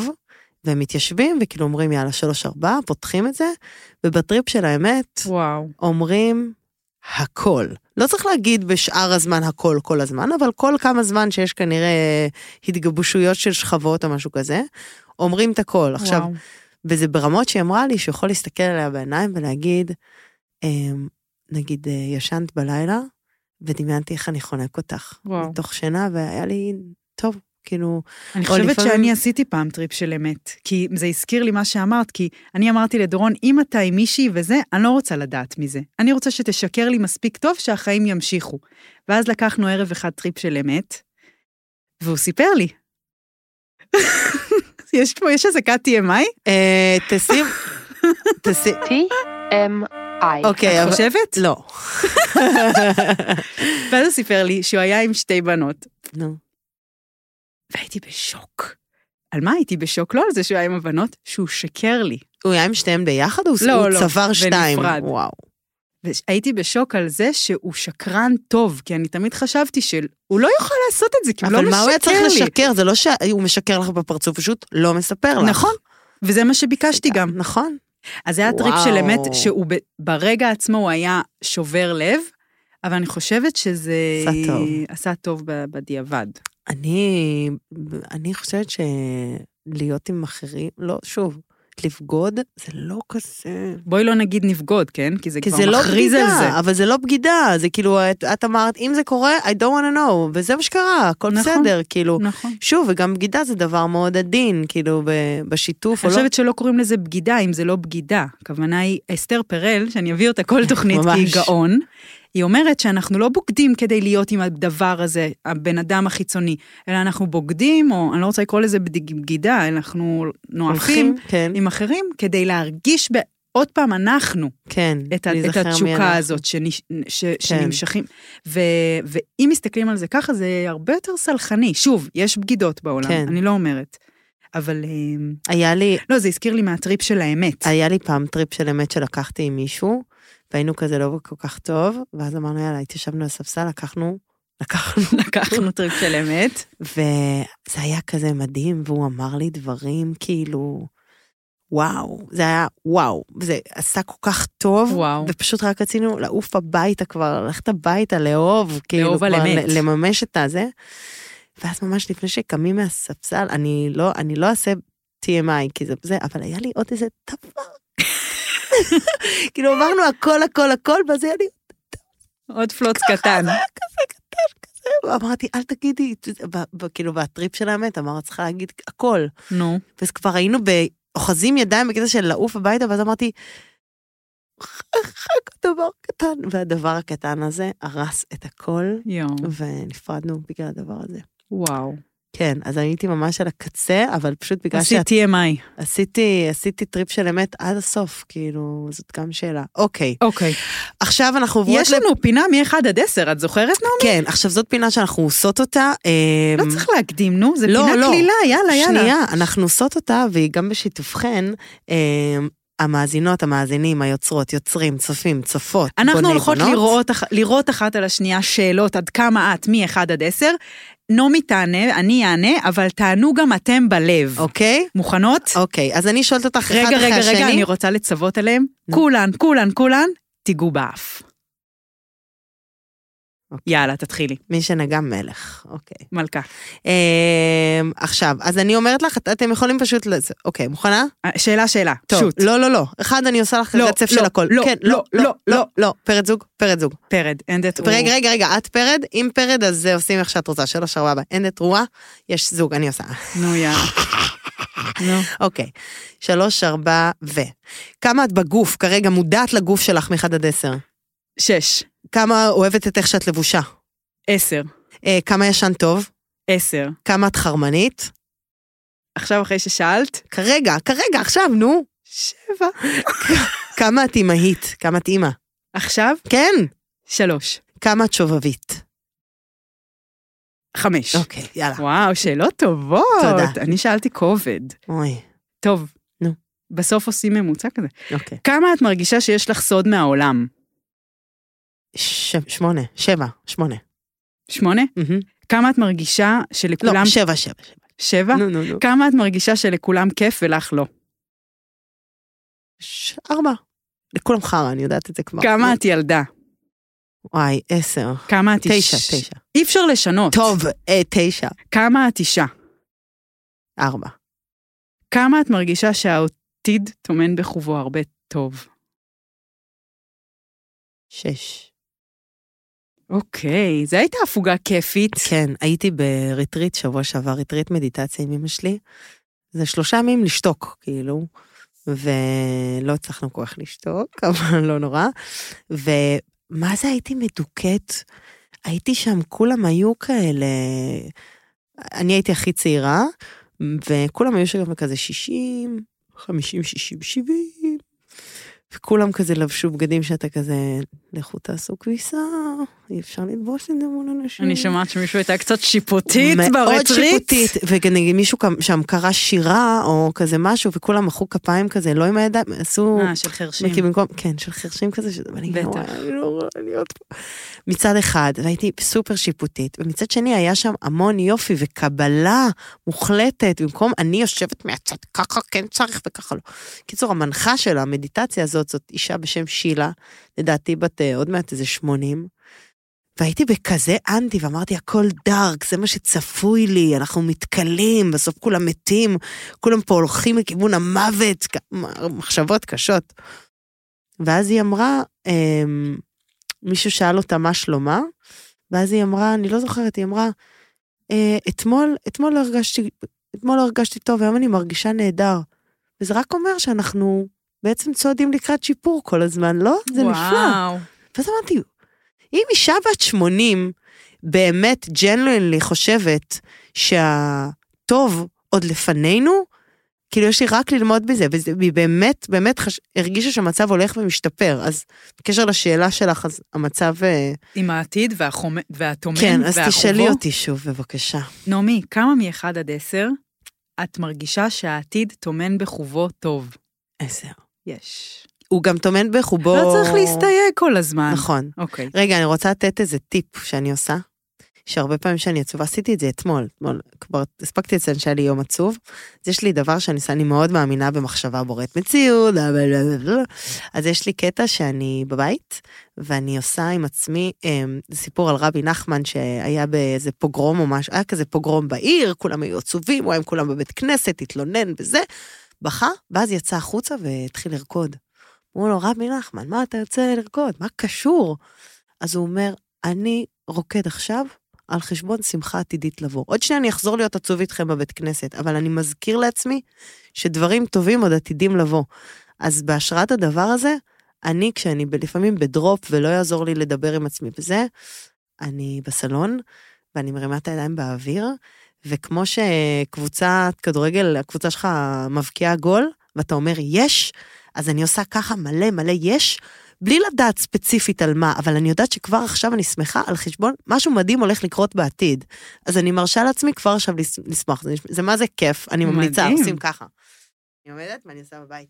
Speaker 1: והם מתיישבים וכאילו אומרים, יאללה, שלוש-ארבע, פותחים את זה, ובטריפ של האמת
Speaker 2: וואו.
Speaker 1: אומרים הכל. לא צריך להגיד בשאר הזמן הכל כל הזמן, אבל כל כמה זמן שיש כנראה התגבשויות של שכבות או משהו כזה, אומרים את הכל. עכשיו,
Speaker 2: וואו.
Speaker 1: וזה ברמות שהיא אמרה לי, שהוא יכול להסתכל עליה בעיניים ולהגיד, אמ, נגיד, אה, ישנת בלילה, ודמיינתי איך אני חונק אותך.
Speaker 2: וואו.
Speaker 1: מתוך שינה, והיה לי, טוב, כאילו,
Speaker 2: אני
Speaker 1: או
Speaker 2: חושבת
Speaker 1: לפעמים-
Speaker 2: שאני עשיתי פעם טריפ של אמת, כי זה הזכיר לי מה שאמרת, כי אני אמרתי לדורון, אם אתה עם מישהי וזה, אני לא רוצה לדעת מזה. אני רוצה שתשקר לי מספיק טוב שהחיים ימשיכו. ואז לקחנו ערב אחד טריפ של אמת, והוא סיפר לי. יש פה, יש אזעקת TMI?
Speaker 1: אה, תשים, תשים,
Speaker 5: TMI.
Speaker 1: אוקיי, אבל...
Speaker 2: חושבת?
Speaker 1: לא.
Speaker 2: ואז הוא סיפר לי שהוא היה עם שתי בנות,
Speaker 1: נו.
Speaker 2: והייתי בשוק. על מה הייתי בשוק? לא על זה שהוא היה עם הבנות, שהוא שקר לי.
Speaker 1: הוא היה עם שניהם ביחד? או הוא-
Speaker 2: לא,
Speaker 1: הוא
Speaker 2: לא,
Speaker 1: צבר שתיים?
Speaker 2: בנפרד.
Speaker 1: וואו.
Speaker 2: והייתי בשוק על זה שהוא שקרן טוב, כי אני תמיד חשבתי שהוא לא יוכל לעשות את זה, כי הוא לא
Speaker 1: אבל
Speaker 2: משקר לי.
Speaker 1: מה הוא היה צריך לשקר? זה לא שהוא משקר לך בפרצוף, הוא פשוט לא מספר לך.
Speaker 2: נכון, וזה מה שביקשתי גם.
Speaker 1: נכון.
Speaker 2: אז זה היה טריפ של
Speaker 1: וואו.
Speaker 2: אמת, שהוא ב- ברגע עצמו הוא היה שובר לב, אבל אני חושבת שזה...
Speaker 1: עשה טוב.
Speaker 2: עשה טוב ב- בדיעבד.
Speaker 1: אני, אני חושבת שלהיות עם אחרים, לא, שוב, לבגוד זה לא כזה...
Speaker 2: בואי לא נגיד נבגוד, כן? כי זה
Speaker 1: כי
Speaker 2: כבר
Speaker 1: זה לא
Speaker 2: מכריז על זה.
Speaker 1: בגידה, אבל זה לא בגידה, זה כאילו, את, את אמרת, אם זה קורה, I don't want to know, וזה מה שקרה, הכל
Speaker 2: נכון.
Speaker 1: בסדר, כאילו.
Speaker 2: נכון.
Speaker 1: שוב, וגם בגידה זה דבר מאוד עדין, כאילו, ב- בשיתוף, או
Speaker 2: אני
Speaker 1: לא.
Speaker 2: חושבת שלא קוראים לזה בגידה, אם זה לא בגידה. הכוונה היא, אסתר פרל, שאני אביא אותה כל תוכנית כי היא
Speaker 1: ממש.
Speaker 2: גאון, היא אומרת שאנחנו לא בוגדים כדי להיות עם הדבר הזה, הבן אדם החיצוני, אלא אנחנו בוגדים, או אני לא רוצה לקרוא לזה בד- בגידה, אלא אנחנו נואפים
Speaker 1: כן,
Speaker 2: עם אחרים כדי להרגיש ב... עוד פעם, אנחנו,
Speaker 1: כן.
Speaker 2: את, ה- את
Speaker 1: להיזכר מי
Speaker 2: התשוקה
Speaker 1: אנחנו. כן.
Speaker 2: הזאת שנש, ש, שנמשכים. ו, ואם מסתכלים על זה ככה, זה הרבה יותר סלחני. שוב, יש בגידות בעולם,
Speaker 1: כן.
Speaker 2: אני לא אומרת. אבל אמ,
Speaker 1: היה לי,
Speaker 2: לא, זה הזכיר לי מהטריפ של האמת.
Speaker 1: היה לי פעם טריפ של אמת שלקחתי עם מישהו, והיינו כזה לא כל כך טוב, ואז אמרנו, יאללה, התיישבנו על הספסל, לקחנו, לקחנו,
Speaker 2: לקחנו טריפ של אמת.
Speaker 1: וזה היה כזה מדהים, והוא אמר לי דברים כאילו, וואו, זה היה וואו, זה עשה כל כך טוב,
Speaker 2: וואו.
Speaker 1: ופשוט רק רצינו לעוף הביתה כבר, ללכת הביתה, לאהוב, כאילו,
Speaker 2: לאהוב על
Speaker 1: כבר
Speaker 2: אמת.
Speaker 1: ל- לממש את הזה. ואז ממש לפני שקמים מהספסל, אני לא, אני לא אעשה TMI, כי זה, זה, אבל היה לי עוד איזה דבר. כאילו אמרנו הכל הכל הכל, ואז היה לי
Speaker 2: עוד פלוץ קטן.
Speaker 1: אמרתי, אל תגידי, ו- ו- כאילו, והטריפ של האמת, אמרת, צריכה להגיד הכל.
Speaker 2: נו.
Speaker 1: ואז כבר היינו ב- אוחזים ידיים בקטע של לעוף הביתה, ואז אמרתי, רק דבר קטן. והדבר הקטן הזה הרס את הכל,
Speaker 2: יואו.
Speaker 1: ונפרדנו בגלל הדבר הזה.
Speaker 2: וואו.
Speaker 1: כן, אז הייתי ממש על הקצה, אבל פשוט בגלל
Speaker 2: עשית TMI.
Speaker 1: שעשיתי עשיתי טריפ של אמת עד הסוף, כאילו, זאת גם שאלה. אוקיי,
Speaker 2: אוקיי.
Speaker 1: עכשיו אנחנו עוברות...
Speaker 2: יש לנו פינה מ-1 עד 10, את זוכרת, נו?
Speaker 1: כן, עכשיו זאת פינה שאנחנו עושות אותה.
Speaker 2: לא
Speaker 1: אמ,
Speaker 2: צריך להקדים, נו, זה
Speaker 1: לא,
Speaker 2: פינה
Speaker 1: לא.
Speaker 2: קלילה, יאללה, יאללה.
Speaker 1: שנייה, אנחנו עושות אותה, והיא גם בשיתופכן. אה, המאזינות, המאזינים, היוצרות, יוצרים, צופים, צופות,
Speaker 2: אנחנו
Speaker 1: בוני,
Speaker 2: הולכות
Speaker 1: בונות.
Speaker 2: לראות, אח- לראות אחת על השנייה שאלות עד כמה את, מ-1 עד 10. נעמי תענה, אני אענה, אבל תענו גם אתם בלב.
Speaker 1: אוקיי?
Speaker 2: מוכנות?
Speaker 1: אוקיי, אז אני שואלת אותך אחד
Speaker 2: רגע,
Speaker 1: אחרי
Speaker 2: רגע,
Speaker 1: השני.
Speaker 2: רגע, אני רוצה לצוות עליהם.
Speaker 1: נו.
Speaker 2: כולן, כולן, כולן, תיגעו באף.
Speaker 1: אוקיי.
Speaker 2: יאללה, תתחילי.
Speaker 1: מי שנגע מלך, אוקיי.
Speaker 2: מלכה.
Speaker 1: אמ, עכשיו, אז אני אומרת לך, את- אתם יכולים פשוט... לזה- אוקיי, מוכנה?
Speaker 2: אה, שאלה, שאלה.
Speaker 1: טוב,
Speaker 2: שוט.
Speaker 1: לא, לא, לא. אחד, אני עושה לך
Speaker 2: לא,
Speaker 1: רצף
Speaker 2: לא,
Speaker 1: של הכל.
Speaker 2: לא,
Speaker 1: כן,
Speaker 2: לא,
Speaker 1: לא,
Speaker 2: לא,
Speaker 1: לא, לא. פרד זוג, פרד זוג.
Speaker 2: פרד, אין דעת הוא...
Speaker 1: רגע, רגע, רגע, את פרד? אם פרד, אז זה עושים איך שאת רוצה. שלוש, ארבע, ארבע. אין את תרועה, יש זוג, אני עושה.
Speaker 2: נו, יאללה. נו.
Speaker 1: אוקיי. שלוש, ארבע, ו. כמה את בגוף כרגע, מודעת לגוף שלך מאחד עד עשר?
Speaker 2: שש.
Speaker 1: כמה אוהבת את איך שאת לבושה?
Speaker 2: עשר.
Speaker 1: אה, כמה ישן טוב?
Speaker 2: עשר.
Speaker 1: כמה את חרמנית?
Speaker 2: עכשיו אחרי ששאלת,
Speaker 1: כרגע, כרגע, עכשיו, נו.
Speaker 2: שבע.
Speaker 1: כמה את אימהית? כמה את אימא?
Speaker 2: עכשיו,
Speaker 1: כן.
Speaker 2: שלוש.
Speaker 1: כמה את שובבית?
Speaker 2: חמש.
Speaker 1: אוקיי, יאללה.
Speaker 2: וואו, שאלות טובות.
Speaker 1: תודה.
Speaker 2: אני שאלתי כובד.
Speaker 1: אוי,
Speaker 2: טוב.
Speaker 1: נו.
Speaker 2: בסוף עושים ממוצע כזה.
Speaker 1: אוקיי.
Speaker 2: כמה את מרגישה שיש לך סוד מהעולם?
Speaker 1: ש- שמונה, שבע, שמונה.
Speaker 2: שמונה?
Speaker 1: מהמם.
Speaker 2: כמה את מרגישה שלכולם...
Speaker 1: לא, שבע, שבע, שבע.
Speaker 2: שבע?
Speaker 1: נו, נו, נו.
Speaker 2: כמה את מרגישה שלכולם כיף ולך לא?
Speaker 1: ש- ארבע. לכולם חרא, אני יודעת את זה כבר.
Speaker 2: כמה את ילדה?
Speaker 1: וואי, עשר.
Speaker 2: כמה את איש?
Speaker 1: תשע, תשע.
Speaker 2: אי אפשר לשנות.
Speaker 1: טוב, אה, תשע,
Speaker 2: כמה את אישה?
Speaker 1: ארבע.
Speaker 2: כמה את מרגישה שהעתיד טומן בחובו הרבה טוב?
Speaker 1: שש.
Speaker 2: אוקיי, זו הייתה הפוגה כיפית.
Speaker 1: כן, הייתי בריטריט שבוע שעבר, ריטריט מדיטציה עם אמא שלי. זה שלושה ימים לשתוק, כאילו, ולא הצלחנו כל כך לשתוק, אבל לא נורא. ומה זה הייתי מדוכאת? הייתי שם, כולם היו כאלה... אני הייתי הכי צעירה, וכולם היו שם כזה 60, 50, 60, 70, וכולם כזה לבשו בגדים שאתה כזה, לכו תעשו כביסה, אי אפשר ללבוש את זה מול אנשים.
Speaker 2: אני שומעת שמישהו הייתה קצת שיפוטית
Speaker 1: מאוד
Speaker 2: ברטריט.
Speaker 1: שיפוטית, ונגיד מישהו כאן- שם קרא שירה או כזה משהו, וכולם מחאו כפיים כזה, לא עם הידיים, עשו...
Speaker 2: אה, של חרשים.
Speaker 1: כאילו במקום, כן, של חרשים כזה, שזה, ואני
Speaker 2: בטח.
Speaker 1: נורא, אני לא רואה להיות פה. מצד אחד, והייתי סופר שיפוטית, ומצד שני היה שם המון יופי וקבלה מוחלטת, במקום אני יושבת מהצד, ככה כן צריך וככה לא. קיצור, המנחה של המדיטציה הזאת, זאת אישה בשם שילה, לדעתי בת אה, עוד מעט איזה 80. והייתי בכזה אנטי, ואמרתי, הכל דארק, זה מה שצפוי לי, אנחנו מתכלים, בסוף כולם מתים, כולם פה הולכים לכיוון המוות, כ- מחשבות קשות. ואז היא אמרה, אמ, מישהו שאל אותה מה שלומה, ואז היא אמרה, אני לא זוכרת, היא אמרה, "אה, אתמול, אתמול לא הרגשתי, אתמול לא הרגשתי טוב, היום אני מרגישה נהדר. וזה רק אומר שאנחנו בעצם צועדים לקראת שיפור כל הזמן, לא? זה נפלא.
Speaker 2: וואו.
Speaker 1: ואז אמרתי, אם אישה בת 80 באמת ג'נואינלי חושבת שהטוב עוד לפנינו, כאילו יש לי רק ללמוד בזה, וזה- והיא באמת, באמת חש... הרגישה שהמצב הולך ומשתפר. אז בקשר לשאלה שלך, אז המצב... אה,
Speaker 2: עם העתיד והחומ- והטומן
Speaker 1: כן, אז
Speaker 2: והחובו.
Speaker 1: תשאלי אותי שוב, בבקשה.
Speaker 2: נעמי, כמה מ-1 עד 10 את מרגישה שהעתיד טומן בחובו טוב?
Speaker 1: עשר.
Speaker 2: יש.
Speaker 1: הוא גם טומן בחובו...
Speaker 2: לא צריך להסתייג כל הזמן.
Speaker 1: נכון.
Speaker 2: אוקיי.
Speaker 1: רגע, אני רוצה לתת איזה טיפ שאני עושה, שהרבה פעמים שאני עצובה, עשיתי את זה אתמול, אתמול כבר הספקתי לציין שהיה לי יום עצוב, אז יש לי דבר שאני עושה, אני מאוד מאמינה במחשבה בוראת מציאות, בלה, בלה, בלה, בלה. אז יש לי קטע שאני בבית, ואני עושה עם עצמי, אמ, זה סיפור על רבי נחמן שהיה באיזה פוגרום או משהו, היה כזה פוגרום בעיר, כולם היו עצובים, הוא היה עם כולם בבית כנסת, התלונן וזה, בכה, ואז יצא החוצה והתחיל לרקוד. אמרו לו, רבי נחמן, מה אתה יוצא לרקוד? מה קשור? אז הוא אומר, אני רוקד עכשיו על חשבון שמחה עתידית לבוא. עוד שנייה אני אחזור להיות עצוב איתכם בבית כנסת, אבל אני מזכיר לעצמי שדברים טובים עוד עתידים לבוא. אז בהשראת הדבר הזה, אני, כשאני ב- לפעמים בדרופ ולא יעזור לי לדבר עם עצמי בזה, אני בסלון, ואני מרימה את הידיים באוויר, וכמו שקבוצת כדורגל, הקבוצה שלך מבקיעה גול, ואתה אומר יש, אז אני עושה ככה מלא מלא יש, בלי לדעת ספציפית על מה, אבל אני יודעת שכבר עכשיו אני שמחה על חשבון משהו מדהים הולך לקרות בעתיד. אז אני מרשה לעצמי כבר עכשיו לס- לשמוח, זה, נשמע- זה מה זה כיף, אני ממליצה,
Speaker 2: מדהים.
Speaker 1: עושים ככה. אני עומדת ואני עושה בבית.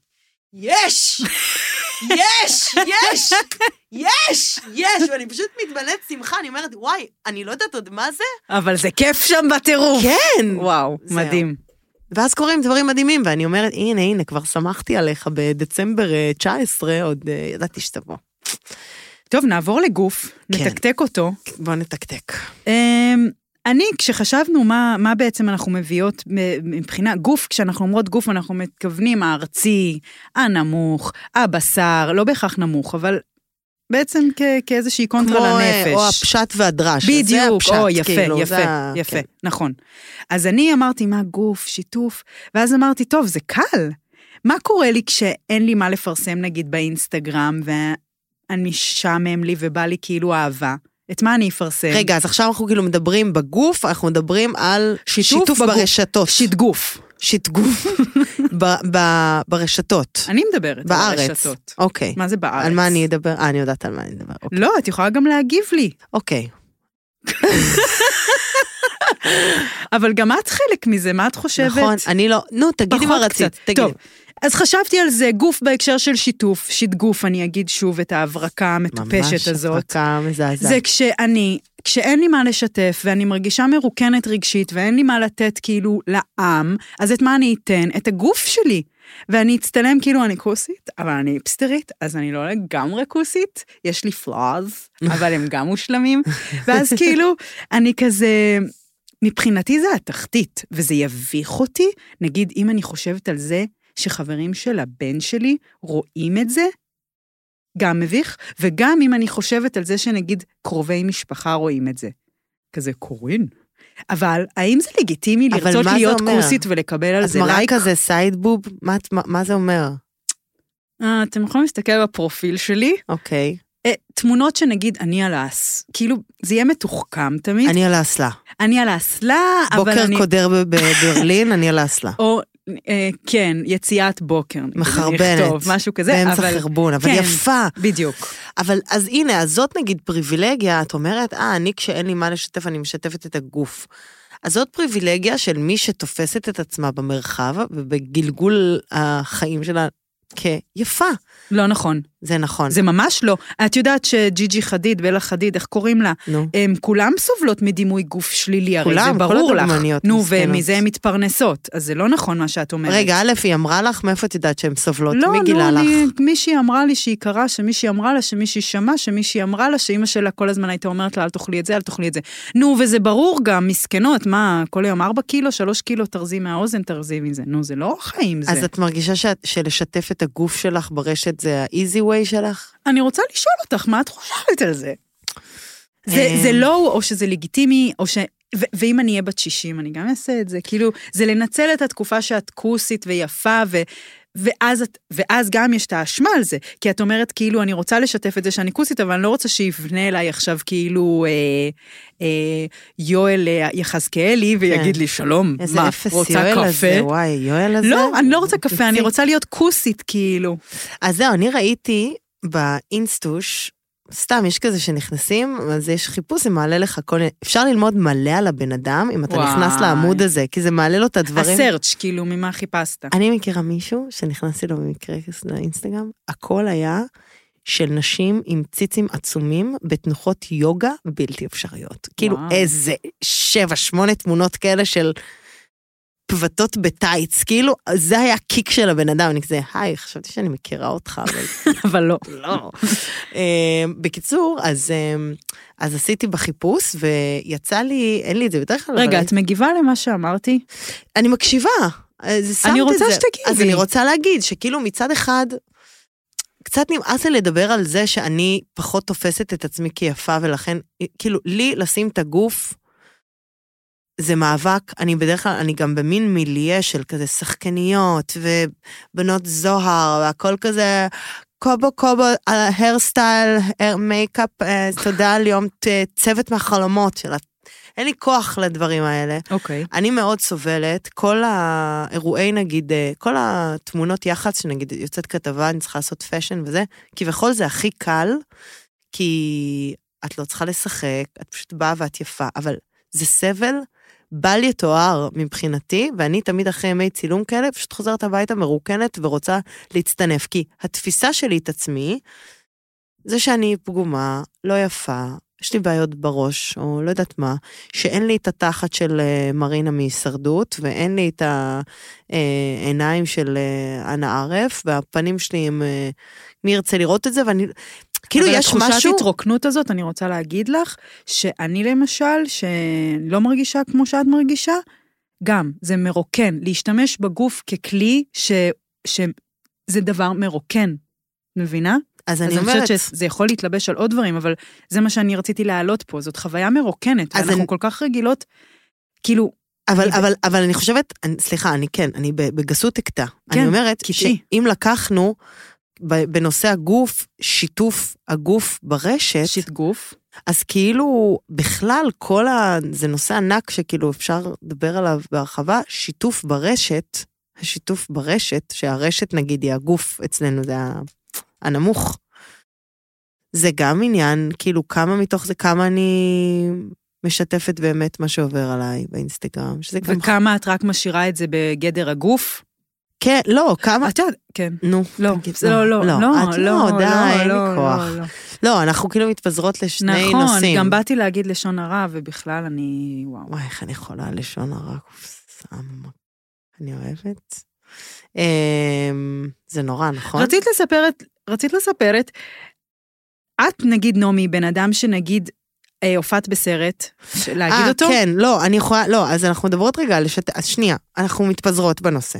Speaker 1: יש! יש! יש! יש! יש! ואני פשוט מתמלאת שמחה, אני אומרת, וואי, אני לא יודעת עוד מה זה?
Speaker 2: אבל זה כיף שם בטירוף.
Speaker 1: כן!
Speaker 2: וואו,
Speaker 1: זהו.
Speaker 2: מדהים.
Speaker 1: ואז קורים דברים מדהימים, ואני אומרת, הנה, הנה, כבר שמחתי עליך בדצמבר אה, 19, עוד אה, ידעתי שתבוא.
Speaker 2: טוב, נעבור לגוף,
Speaker 1: כן.
Speaker 2: נתקתק אותו.
Speaker 1: בוא נתקתק.
Speaker 2: אמ, אני, כשחשבנו מה, מה בעצם אנחנו מביאות מ- מבחינה גוף, כשאנחנו אומרות גוף, אנחנו מתכוונים הארצי, הנמוך, הבשר, לא בהכרח נמוך, אבל בעצם כ, כאיזושהי
Speaker 1: כמו
Speaker 2: קונטרה
Speaker 1: אה,
Speaker 2: לנפש.
Speaker 1: או הפשט והדרש. זה
Speaker 2: בדיוק,
Speaker 1: הפשט,
Speaker 2: או, יפה,
Speaker 1: כאילו,
Speaker 2: יפה,
Speaker 1: זה ה-
Speaker 2: יפה,
Speaker 1: כן.
Speaker 2: נכון. אז אני אמרתי, מה גוף, שיתוף, ואז אמרתי, טוב, זה קל. מה קורה לי כשאין לי מה לפרסם, נגיד, באינסטגרם, ואני משעמם לי ובא לי כאילו אהבה? את מה אני אפרסם?
Speaker 1: כן. רגע, אז עכשיו אנחנו כאילו מדברים בגוף, אנחנו מדברים על
Speaker 2: שיתוף
Speaker 1: שיתוף
Speaker 2: בגוף.
Speaker 1: ברשתות.
Speaker 2: שיט גוף.
Speaker 1: שיתגוף ב- ב- ברשתות.
Speaker 2: אני מדברת
Speaker 1: בארץ.
Speaker 2: על הרשתות.
Speaker 1: אוקיי.
Speaker 2: מה זה בארץ?
Speaker 1: על מה אני אדבר? אה, אני יודעת על מה אני אדבר. אוקיי.
Speaker 2: לא, את יכולה גם להגיב לי,
Speaker 1: אוקיי.
Speaker 2: אבל גם את חלק מזה, מה את חושבת?
Speaker 1: נכון, אני לא... נו, תגידי מה
Speaker 2: פחות
Speaker 1: רצית.
Speaker 2: קצת.
Speaker 1: תגידי.
Speaker 2: טוב, אז חשבתי על זה, גוף בהקשר של שיתוף, שיתגוף, אני אגיד שוב את ההברקה המטופשת
Speaker 1: ממש
Speaker 2: הזאת.
Speaker 1: הפקה מזעזעת.
Speaker 2: זה כשאני, כשאין לי מה לשתף ואני מרגישה מרוקנת רגשית ואין לי מה לתת כאילו לעם, אז את מה אני אתן? את הגוף שלי. ואני אצטלם כאילו אני כוסית, אבל אני היפסטרית, אז אני לא לגמרי כוסית, יש לי פלאז, אבל הם גם מושלמים. ואז כאילו, אני כזה, מבחינתי זה התחתית, וזה יביך אותי, נגיד אם אני חושבת על זה שחברים של הבן שלי רואים את זה, גם מביך, וגם אם אני חושבת על זה שנגיד קרובי משפחה רואים את זה. כזה קורין. אבל האם זה לגיטימי
Speaker 1: אבל
Speaker 2: לרצות
Speaker 1: מה זה
Speaker 2: להיות
Speaker 1: אומר?
Speaker 2: כוסית ולקבל על
Speaker 1: את
Speaker 2: זה
Speaker 1: מראה
Speaker 2: לייק?
Speaker 1: כזה סייד בוב? מה את- מה- מה זה אומר?
Speaker 2: אה, אתם יכולים להסתכל בפרופיל שלי.
Speaker 1: אוקיי.
Speaker 2: אה, תמונות שנגיד אני על האס, כאילו זה יהיה מתוחכם תמיד. אני,
Speaker 1: אני על האסלה.
Speaker 2: על האסלה, אבל
Speaker 1: בוקר
Speaker 2: אני...
Speaker 1: קודר ב- בברלין, אני על האסלה.
Speaker 2: או אה, כן, יציאת בוקר. נגיד, אני
Speaker 1: מחרבנת.
Speaker 2: אכתוב, משהו כזה,
Speaker 1: באמצע
Speaker 2: אבל...
Speaker 1: חרבון, אבל
Speaker 2: כן.
Speaker 1: יפה.
Speaker 2: בדיוק.
Speaker 1: אבל אז הנה, אז זאת נגיד פריבילגיה, את אומרת, אה, אני כשאין לי מה לשתף, אני משתפת את הגוף. אז זאת פריבילגיה של מי שתופסת את עצמה במרחב ובגלגול החיים שלה כיפה.
Speaker 2: לא נכון,
Speaker 1: זה נכון.
Speaker 2: זה ממש לא. את יודעת שג'יג'י חדיד, בלה חדיד, איך קוראים לה?
Speaker 1: נו.
Speaker 2: הם כולם סובלות מדימוי גוף שלילי, הרי
Speaker 1: כולם,
Speaker 2: זה
Speaker 1: כל
Speaker 2: ברור לך.
Speaker 1: הדוגמניות
Speaker 2: נו,
Speaker 1: מסכנות.
Speaker 2: ומזה הן מתפרנסות, אז זה לא נכון מה שאת אומרת.
Speaker 1: רגע, א', היא אמרה לך, מאיפה את יודעת שהן סובלות?
Speaker 2: לא,
Speaker 1: מי גילה
Speaker 2: נו,
Speaker 1: לך?
Speaker 2: אני, מישהי אמרה לי שהיא קרה, שמישהי אמרה לה, שמישהי שמעה, שמישהי אמרה לה, שאימא שלה כל הזמן הייתה אומרת לה, אל תאכלי את זה, אל תאכלי את זה. נו, וזה ברור גם, מסכנות, מה, כל היום ארבע קילו, שלוש קילו, תרזי מהאוזן, תרזי מזה. נו, זה לא חיים זה.
Speaker 1: אז את מרגישה שאת- שלשתף את הגוף שלך ברשת זה ה-easy way שלך?
Speaker 2: אני רוצה לשאול אותך, מה את חושבת על זה? זה,
Speaker 1: אה.
Speaker 2: זה לא, או שזה לגיטימי, או ש... ו- ואם אני אהיה בת 60, אני גם אעשה את זה. כאילו, זה לנצל את התקופה שאת כוסית ויפה, ו... ואז, את, ואז גם יש את האשמה על זה, כי את אומרת, כאילו, אני רוצה לשתף את זה שאני כוסית, אבל אני לא רוצה שיבנה אליי עכשיו, כאילו, אה, אה, יואל אה, יחזקאלי, ויגיד
Speaker 1: כן.
Speaker 2: לי, שלום,
Speaker 1: איזה
Speaker 2: מה,
Speaker 1: אפס
Speaker 2: רוצה
Speaker 1: יואל הזה,
Speaker 2: קפה?
Speaker 1: וואי, יואל הזה.
Speaker 2: לא, אני לא רוצה קפה, אני
Speaker 1: מציק.
Speaker 2: רוצה להיות כוסית, כאילו.
Speaker 1: אז זהו, אני ראיתי באינסטוש, סתם, יש כזה שנכנסים, אז יש חיפוש, זה מעלה לך כל מיני... אפשר ללמוד מלא על הבן אדם, אם אתה
Speaker 2: וואי.
Speaker 1: נכנס לעמוד הזה, כי זה מעלה לו את הדברים.
Speaker 2: הסרצ', כאילו, ממה חיפשת.
Speaker 1: אני מכירה מישהו שנכנסתי לו במקרה לאינסטגרם, הכל היה של נשים עם ציצים עצומים בתנוחות יוגה בלתי אפשריות. כאילו
Speaker 2: וואו.
Speaker 1: איזה שבע, שמונה תמונות כאלה של פבטות בטייץ, כאילו זה היה הקיק של הבן אדם, אני כזה, היי, חשבתי שאני מכירה אותך, אבל
Speaker 2: אבל לא.
Speaker 1: לא. אמ, בקיצור, אז, אמ, אז עשיתי בחיפוש, ויצא לי, אין לי את זה בדרך כלל.
Speaker 2: רגע,
Speaker 1: אבל
Speaker 2: את מגיבה למה שאמרתי?
Speaker 1: אני מקשיבה. אז שמת
Speaker 2: אני
Speaker 1: את
Speaker 2: רוצה
Speaker 1: זה.
Speaker 2: שתגיבי.
Speaker 1: אז אני רוצה להגיד שכאילו מצד אחד, קצת נמאס לי לדבר על זה שאני פחות תופסת את עצמי כיפה, ולכן, כאילו, לי לשים את הגוף... זה מאבק, אני בדרך כלל, אני גם במין מיליה של כזה שחקניות ובנות זוהר, והכל כזה קובו קובו, הרסטייל, מייקאפ, אה, תודה על יום ת- צוות מהחלומות שלה. אין לי כוח לדברים האלה.
Speaker 2: אוקיי.
Speaker 1: אני מאוד סובלת, כל האירועי נגיד, אה, כל התמונות יח"צ, שנגיד יוצאת כתבה, אני צריכה לעשות פאשן וזה, כביכול זה הכי קל, כי את לא צריכה לשחק, את פשוט באה ואת יפה, אבל זה סבל בל יתואר מבחינתי, ואני תמיד אחרי ימי צילום כאלה, פשוט חוזרת הביתה מרוקנת ורוצה להצטנף. כי התפיסה שלי את עצמי, זה שאני פגומה, לא יפה, יש לי בעיות בראש, או לא יודעת מה, שאין לי את התחת של אה, מרינה מהישרדות, ואין לי את העיניים של אה, אנה ערף, והפנים שלי הם... אה, מי ירצה לראות את זה? ואני... כאילו, יש משהו...
Speaker 2: אבל התחושת התרוקנות הזאת, אני רוצה להגיד לך, שאני למשל, שלא מרגישה כמו שאת מרגישה, גם, זה מרוקן. להשתמש בגוף ככלי, ש... ש... זה דבר מרוקן, מבינה?
Speaker 1: אז
Speaker 2: אז
Speaker 1: אני
Speaker 2: אני
Speaker 1: אומרת...
Speaker 2: חושבת שזה יכול להתלבש על עוד דברים, אבל זה מה שאני רציתי להעלות פה, זאת חוויה מרוקנת,
Speaker 1: אז
Speaker 2: ואנחנו
Speaker 1: אני-
Speaker 2: כל כך רגילות, כאילו,
Speaker 1: אבל,
Speaker 2: אני ב-
Speaker 1: אבל, אבל אני חושבת, אני, סליחה, אני כן, אני ב- בגסות אקטע.
Speaker 2: כן,
Speaker 1: אני אומרת
Speaker 2: קטעי.
Speaker 1: שאם לקחנו ב- בנושא הגוף, שיתוף הגוף ברשת,
Speaker 2: שיט גוף.
Speaker 1: אז כאילו בכלל כל ה... זה נושא ענק שכאילו אפשר לדבר עליו בהרחבה, שיתוף ברשת, השיתוף ברשת, שהרשת נגיד היא הגוף, אצלנו זה ה- הנמוך. זה גם עניין, כאילו כמה מתוך זה, כמה אני משתפת באמת מה שעובר עליי באינסטגרם, שזה גם...
Speaker 2: וכמה את רק משאירה את זה בגדר הגוף?
Speaker 1: כן, לא, כמה...
Speaker 2: את יודעת, כן.
Speaker 1: נו,
Speaker 2: לא,
Speaker 1: תגיד,
Speaker 2: זה לא, לא, לא,
Speaker 1: את לא, די, אין לי
Speaker 2: לא,
Speaker 1: כוח.
Speaker 2: לא, לא.
Speaker 1: לא, אנחנו כאילו מתפזרות לשני
Speaker 2: נכון,
Speaker 1: נושאים.
Speaker 2: גם באתי להגיד לשון הרע, ובכלל אני, וואו.
Speaker 1: וואי, איך אני יכולה לשון הרע קופסם. אני אוהבת. אמ, זה נורא, נכון?
Speaker 2: רצית לספר את, רצית לספר את, את נגיד נעמי, בן אדם שנגיד אה, הופעת בסרט, ש- להגיד
Speaker 1: אה,
Speaker 2: אותו?
Speaker 1: כן, לא, אני יכולה, לא, אז אנחנו מדברות רגע על לשת... אז שנייה, אנחנו מתפזרות בנושא.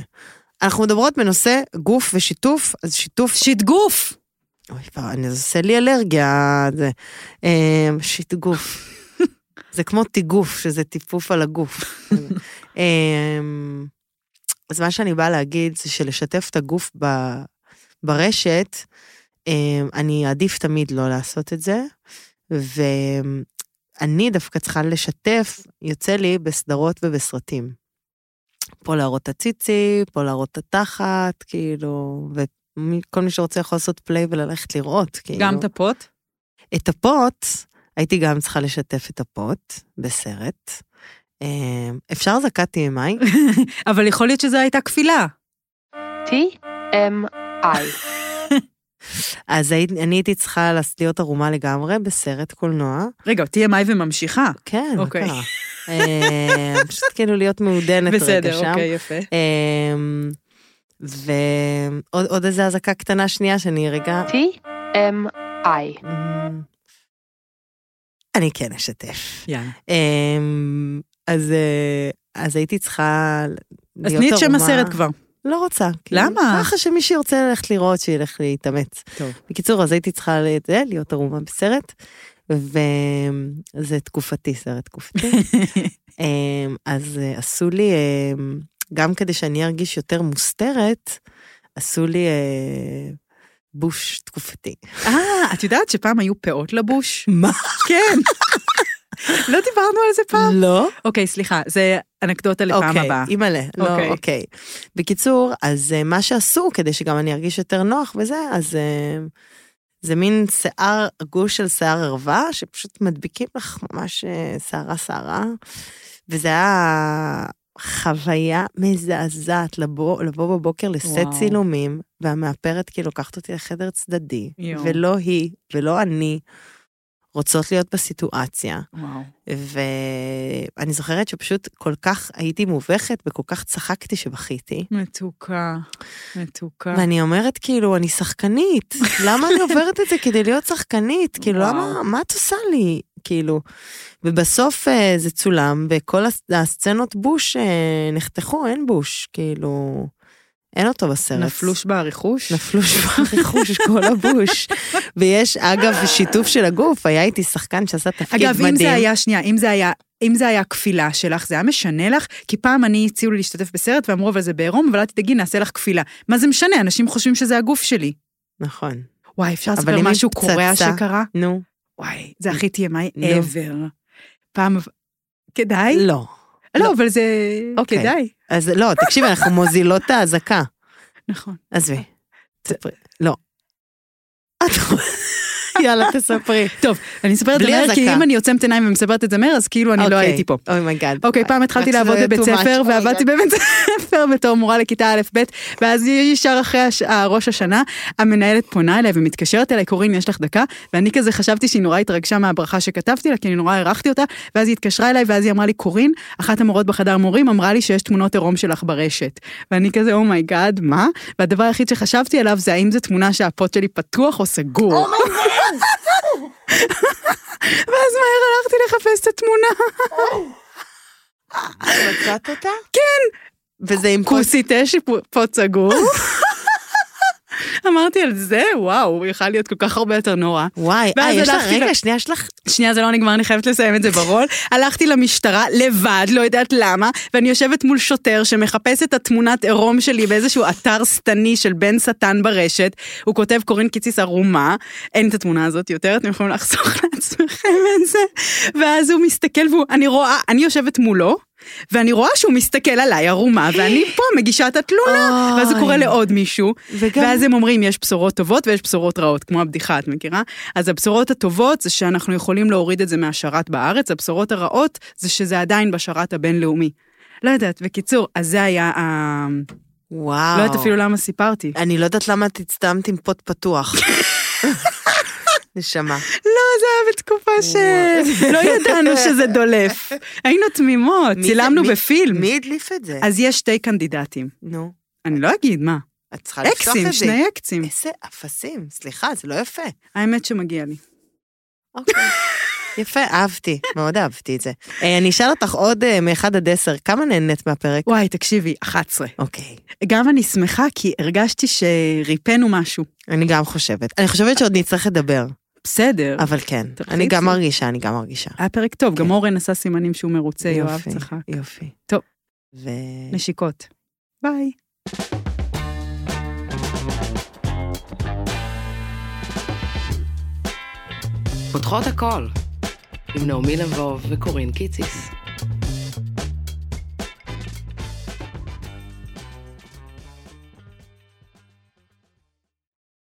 Speaker 1: אנחנו מדברות בנושא גוף ושיתוף, אז שיתוף...
Speaker 2: שיט גוף!
Speaker 1: כאילו. אוי, כבר, אני- זה עושה לי אלרגיה, זה... אמ, שיט גוף. זה כמו טיגוף, שזה טיפוף על הגוף. אמ, אז מה שאני באה להגיד זה שלשתף את הגוף ב, ברשת, אמ, אני אעדיף תמיד לא לעשות את זה, ואני דווקא צריכה לשתף, יוצא לי בסדרות ובסרטים. פה להראות את הציצי, פה להראות את התחת, כאילו, וכל מי שרוצה יכול לעשות פליי וללכת לראות, כאילו.
Speaker 2: גם טפות?
Speaker 1: את הפוט, הייתי גם צריכה לשתף את הפוט בסרט. אמ, אפשר זקת TMI?
Speaker 2: אבל יכול להיות שזו הייתה כפילה.
Speaker 5: TMI.
Speaker 1: אז הייתי- אני הייתי צריכה לס- להיות ערומה לגמרי בסרט קולנוע.
Speaker 2: רגע, TMI וממשיכה.
Speaker 1: כן, מה
Speaker 2: אוקיי.
Speaker 1: קרה? אמ, פשוט כאילו להיות מעודנת רגע
Speaker 2: בסדר,
Speaker 1: שם.
Speaker 2: אוקיי, יפה.
Speaker 1: אמ, ועוד עוד איזה אזעקה קטנה שנייה שאני רגע...
Speaker 5: TMI.
Speaker 2: אה.
Speaker 1: אמ, אני כן אשתף.
Speaker 2: יאללה.
Speaker 1: אמ, אז אה, אז הייתי צריכה
Speaker 2: אז
Speaker 1: להיות
Speaker 2: תני
Speaker 1: ערומה.
Speaker 2: את שם הסרט כבר.
Speaker 1: לא רוצה. כאילו,
Speaker 2: למה?
Speaker 1: ככה שמי שירצה ללכת לראות, שילך להתאמץ.
Speaker 2: טוב.
Speaker 1: בקיצור, אז הייתי צריכה ל- זה, להיות ערומה בסרט, וזה תקופתי, סרט תקופתי. אמ, אז אה, עשו לי, אמ, גם כדי שאני ארגיש יותר מוסתרת, עשו לי אה, בוש תקופתי.
Speaker 2: אה, את יודעת שפעם היו פאות לבוש?
Speaker 1: מה?
Speaker 2: כן. לא דיברנו על זה פעם?
Speaker 1: לא?
Speaker 2: אוקיי, סליחה, זה אנקדוטה לפעם הבאה.
Speaker 1: אוקיי, אימא'לה, לא,
Speaker 2: אוקיי.
Speaker 1: אוקיי. בקיצור, אז אה, מה שעשו, כדי שגם אני ארגיש יותר נוח וזה, אז אה, זה מין שיער, גוש של שיער ערווה, שפשוט מדביקים לך ממש אה, שערה-שערה, וזה היה חוויה מזעזעת לבוא, לבוא בבוקר לסט
Speaker 2: וואו.
Speaker 1: צילומים, והמאפרת כאילו לוקחת אותי לחדר צדדי,
Speaker 2: יואו.
Speaker 1: ולא היא ולא אני רוצות להיות בסיטואציה.
Speaker 2: וואו.
Speaker 1: ואני זוכרת שפשוט כל כך הייתי מובכת וכל כך צחקתי שבכיתי.
Speaker 2: מתוקה, מתוקה.
Speaker 1: ואני אומרת, כאילו, אני שחקנית, למה אני עוברת את זה כדי להיות שחקנית? כאילו,
Speaker 2: וואו.
Speaker 1: למה, מה את עושה לי? כאילו, ובסוף אה, זה צולם, וכל הס- הסצנות בוש אה, נחתכו, אין בוש, כאילו, אין אותו בסרט.
Speaker 2: נפלוש ברכוש?
Speaker 1: נפלו שבר רכוש, כל הבוש. ויש, אגב, שיתוף של הגוף, היה איתי שחקן שעשה תפקיד מדהים.
Speaker 2: אגב, אם זה היה, שנייה, אם זה היה... אם זה היה כפילה שלך, זה היה משנה לך? כי פעם אני הציעו לי להשתתף בסרט ואמרו, אבל זה בעירום, אבל אל תדאגי, נעשה לך כפילה. מה זה משנה? אנשים חושבים שזה הגוף שלי.
Speaker 1: נכון.
Speaker 2: וואי, אפשר
Speaker 1: אבל
Speaker 2: לספר
Speaker 1: אם היא
Speaker 2: משהו קורע
Speaker 1: פצצה?
Speaker 2: שקרה?
Speaker 1: נו.
Speaker 2: וואי, זה הכי TMI
Speaker 1: נו.
Speaker 2: ever. פעם... כדאי?
Speaker 1: לא.
Speaker 2: לא, אבל זה...
Speaker 1: אוקיי.
Speaker 2: כדאי.
Speaker 1: אז לא, תקשיבי, אנחנו מוזילות את האזעקה.
Speaker 2: נכון.
Speaker 1: עזבי. תספרי. לא. את- יאללה, תספרי.
Speaker 2: טוב, אני מספרת את זה
Speaker 1: בלי
Speaker 2: מהר, כי
Speaker 1: אזעקה.
Speaker 2: אם אני עוצמת עיניים ומספרת את זה מהר, אז כאילו אני לא
Speaker 1: אוקיי.
Speaker 2: הייתי פה.
Speaker 1: אומייגאד.
Speaker 2: אוקיי, פעם התחלתי
Speaker 1: רק שזה
Speaker 2: לעבוד בבית
Speaker 1: too much.
Speaker 2: ספר,
Speaker 1: Oh my
Speaker 2: ועבדתי
Speaker 1: God.
Speaker 2: בבית ספר בתור מורה לכיתה א'-ב', ואז ישר אחרי הש- אה, ראש השנה, המנהלת פונה אליי ומתקשרת אליי, קורין, יש לך דקה? ואני כזה חשבתי שהיא נורא התרגשה מהברכה שכתבתי לה, כי אני נורא הערכתי אותה, ואז היא התקשרה אליי, ואז היא אמרה לי, קורין, אחת המורות בחדר מורים אמרה לי שיש תמונות עירום שלך ברשת. ואני כזה, אומייגאד, מה? והדבר היחיד שחשבתי עליו זה האם זו תמונה שהפוט שלי פתוח או סגור. ואז מהר הלכתי לחפש את התמונה.
Speaker 1: מצאת אותה? כן. וזה עם כוס.
Speaker 2: כוסית אש פה סגור. אמרתי על זה, וואו, הוא יכל להיות כל כך הרבה יותר נורא.
Speaker 1: וואי, אה,
Speaker 2: ואז
Speaker 1: יש לך,
Speaker 2: הלכתי ל-
Speaker 1: רגע, שנייה, יש לך...
Speaker 2: שנייה, זה לא נגמר, אני חייבת לסיים את זה ברול. הלכתי למשטרה לבד, לא יודעת למה, ואני יושבת מול שוטר שמחפש את התמונת עירום שלי באיזשהו אתר שטני של בן שטן ברשת. הוא כותב, קורין קיציס ערומה, אין את התמונה הזאת יותר, אתם יכולים לחסוך לעצמכם את זה. ואז הוא מסתכל, והוא, אני רואה, אני יושבת מולו. ואני רואה שהוא מסתכל עליי ערומה, ואני פה מגישה את התלונה, ואז הוא קורא
Speaker 1: אוי.
Speaker 2: לעוד מישהו,
Speaker 1: וגם-
Speaker 2: ואז הם אומרים, יש בשורות טובות ויש בשורות רעות, כמו הבדיחה, את מכירה? אז הבשורות הטובות זה שאנחנו יכולים להוריד את זה מהשרת בארץ, הבשורות הרעות זה שזה עדיין בשרת הבינלאומי. לא יודעת, בקיצור, אז זה היה ה...
Speaker 1: וואו.
Speaker 2: לא יודעת אפילו למה סיפרתי.
Speaker 1: אני לא יודעת למה את הצטעמת עם פוט פתוח. נשמה.
Speaker 2: לא, זה היה בתקופה ש...
Speaker 1: וואו.
Speaker 2: לא ידענו שזה דולף. היינו תמימות,
Speaker 1: מי זה-
Speaker 2: צילמנו
Speaker 1: מי-
Speaker 2: בפילם.
Speaker 1: מי הדליף את זה?
Speaker 2: אז יש שתי קנדידטים.
Speaker 1: נו,
Speaker 2: אני לא אגיד מה.
Speaker 1: את צריכה לפתוח
Speaker 2: אקסים,
Speaker 1: את זה.
Speaker 2: שני אקסים.
Speaker 1: איזה אפסים, סליחה, זה לא יפה.
Speaker 2: האמת שמגיע לי.
Speaker 1: אוקיי. יפה, אהבתי, מאוד אהבתי את זה. אה, אני אשאל אותך עוד אה, מאחד עד עשר, כמה נהנית מהפרק?
Speaker 2: וואי, תקשיבי, 11.
Speaker 1: אוקיי.
Speaker 2: גם אני שמחה כי הרגשתי שריפאנו משהו.
Speaker 1: אני גם חושבת. אני חושבת שעוד נצטרך לדבר,
Speaker 2: בסדר.
Speaker 1: אבל כן.
Speaker 2: תרחיצי.
Speaker 1: אני גם מרגישה, אני גם מרגישה.
Speaker 2: היה פרק טוב, גם אורן עשה סימנים שהוא מרוצה, יואב
Speaker 1: יופי,
Speaker 2: צחק.
Speaker 1: יופי.
Speaker 2: טוב.
Speaker 1: ו...
Speaker 2: נשיקות. ביי.
Speaker 3: פותחות הכל, עם נעמי לבוב וקורין קיציס.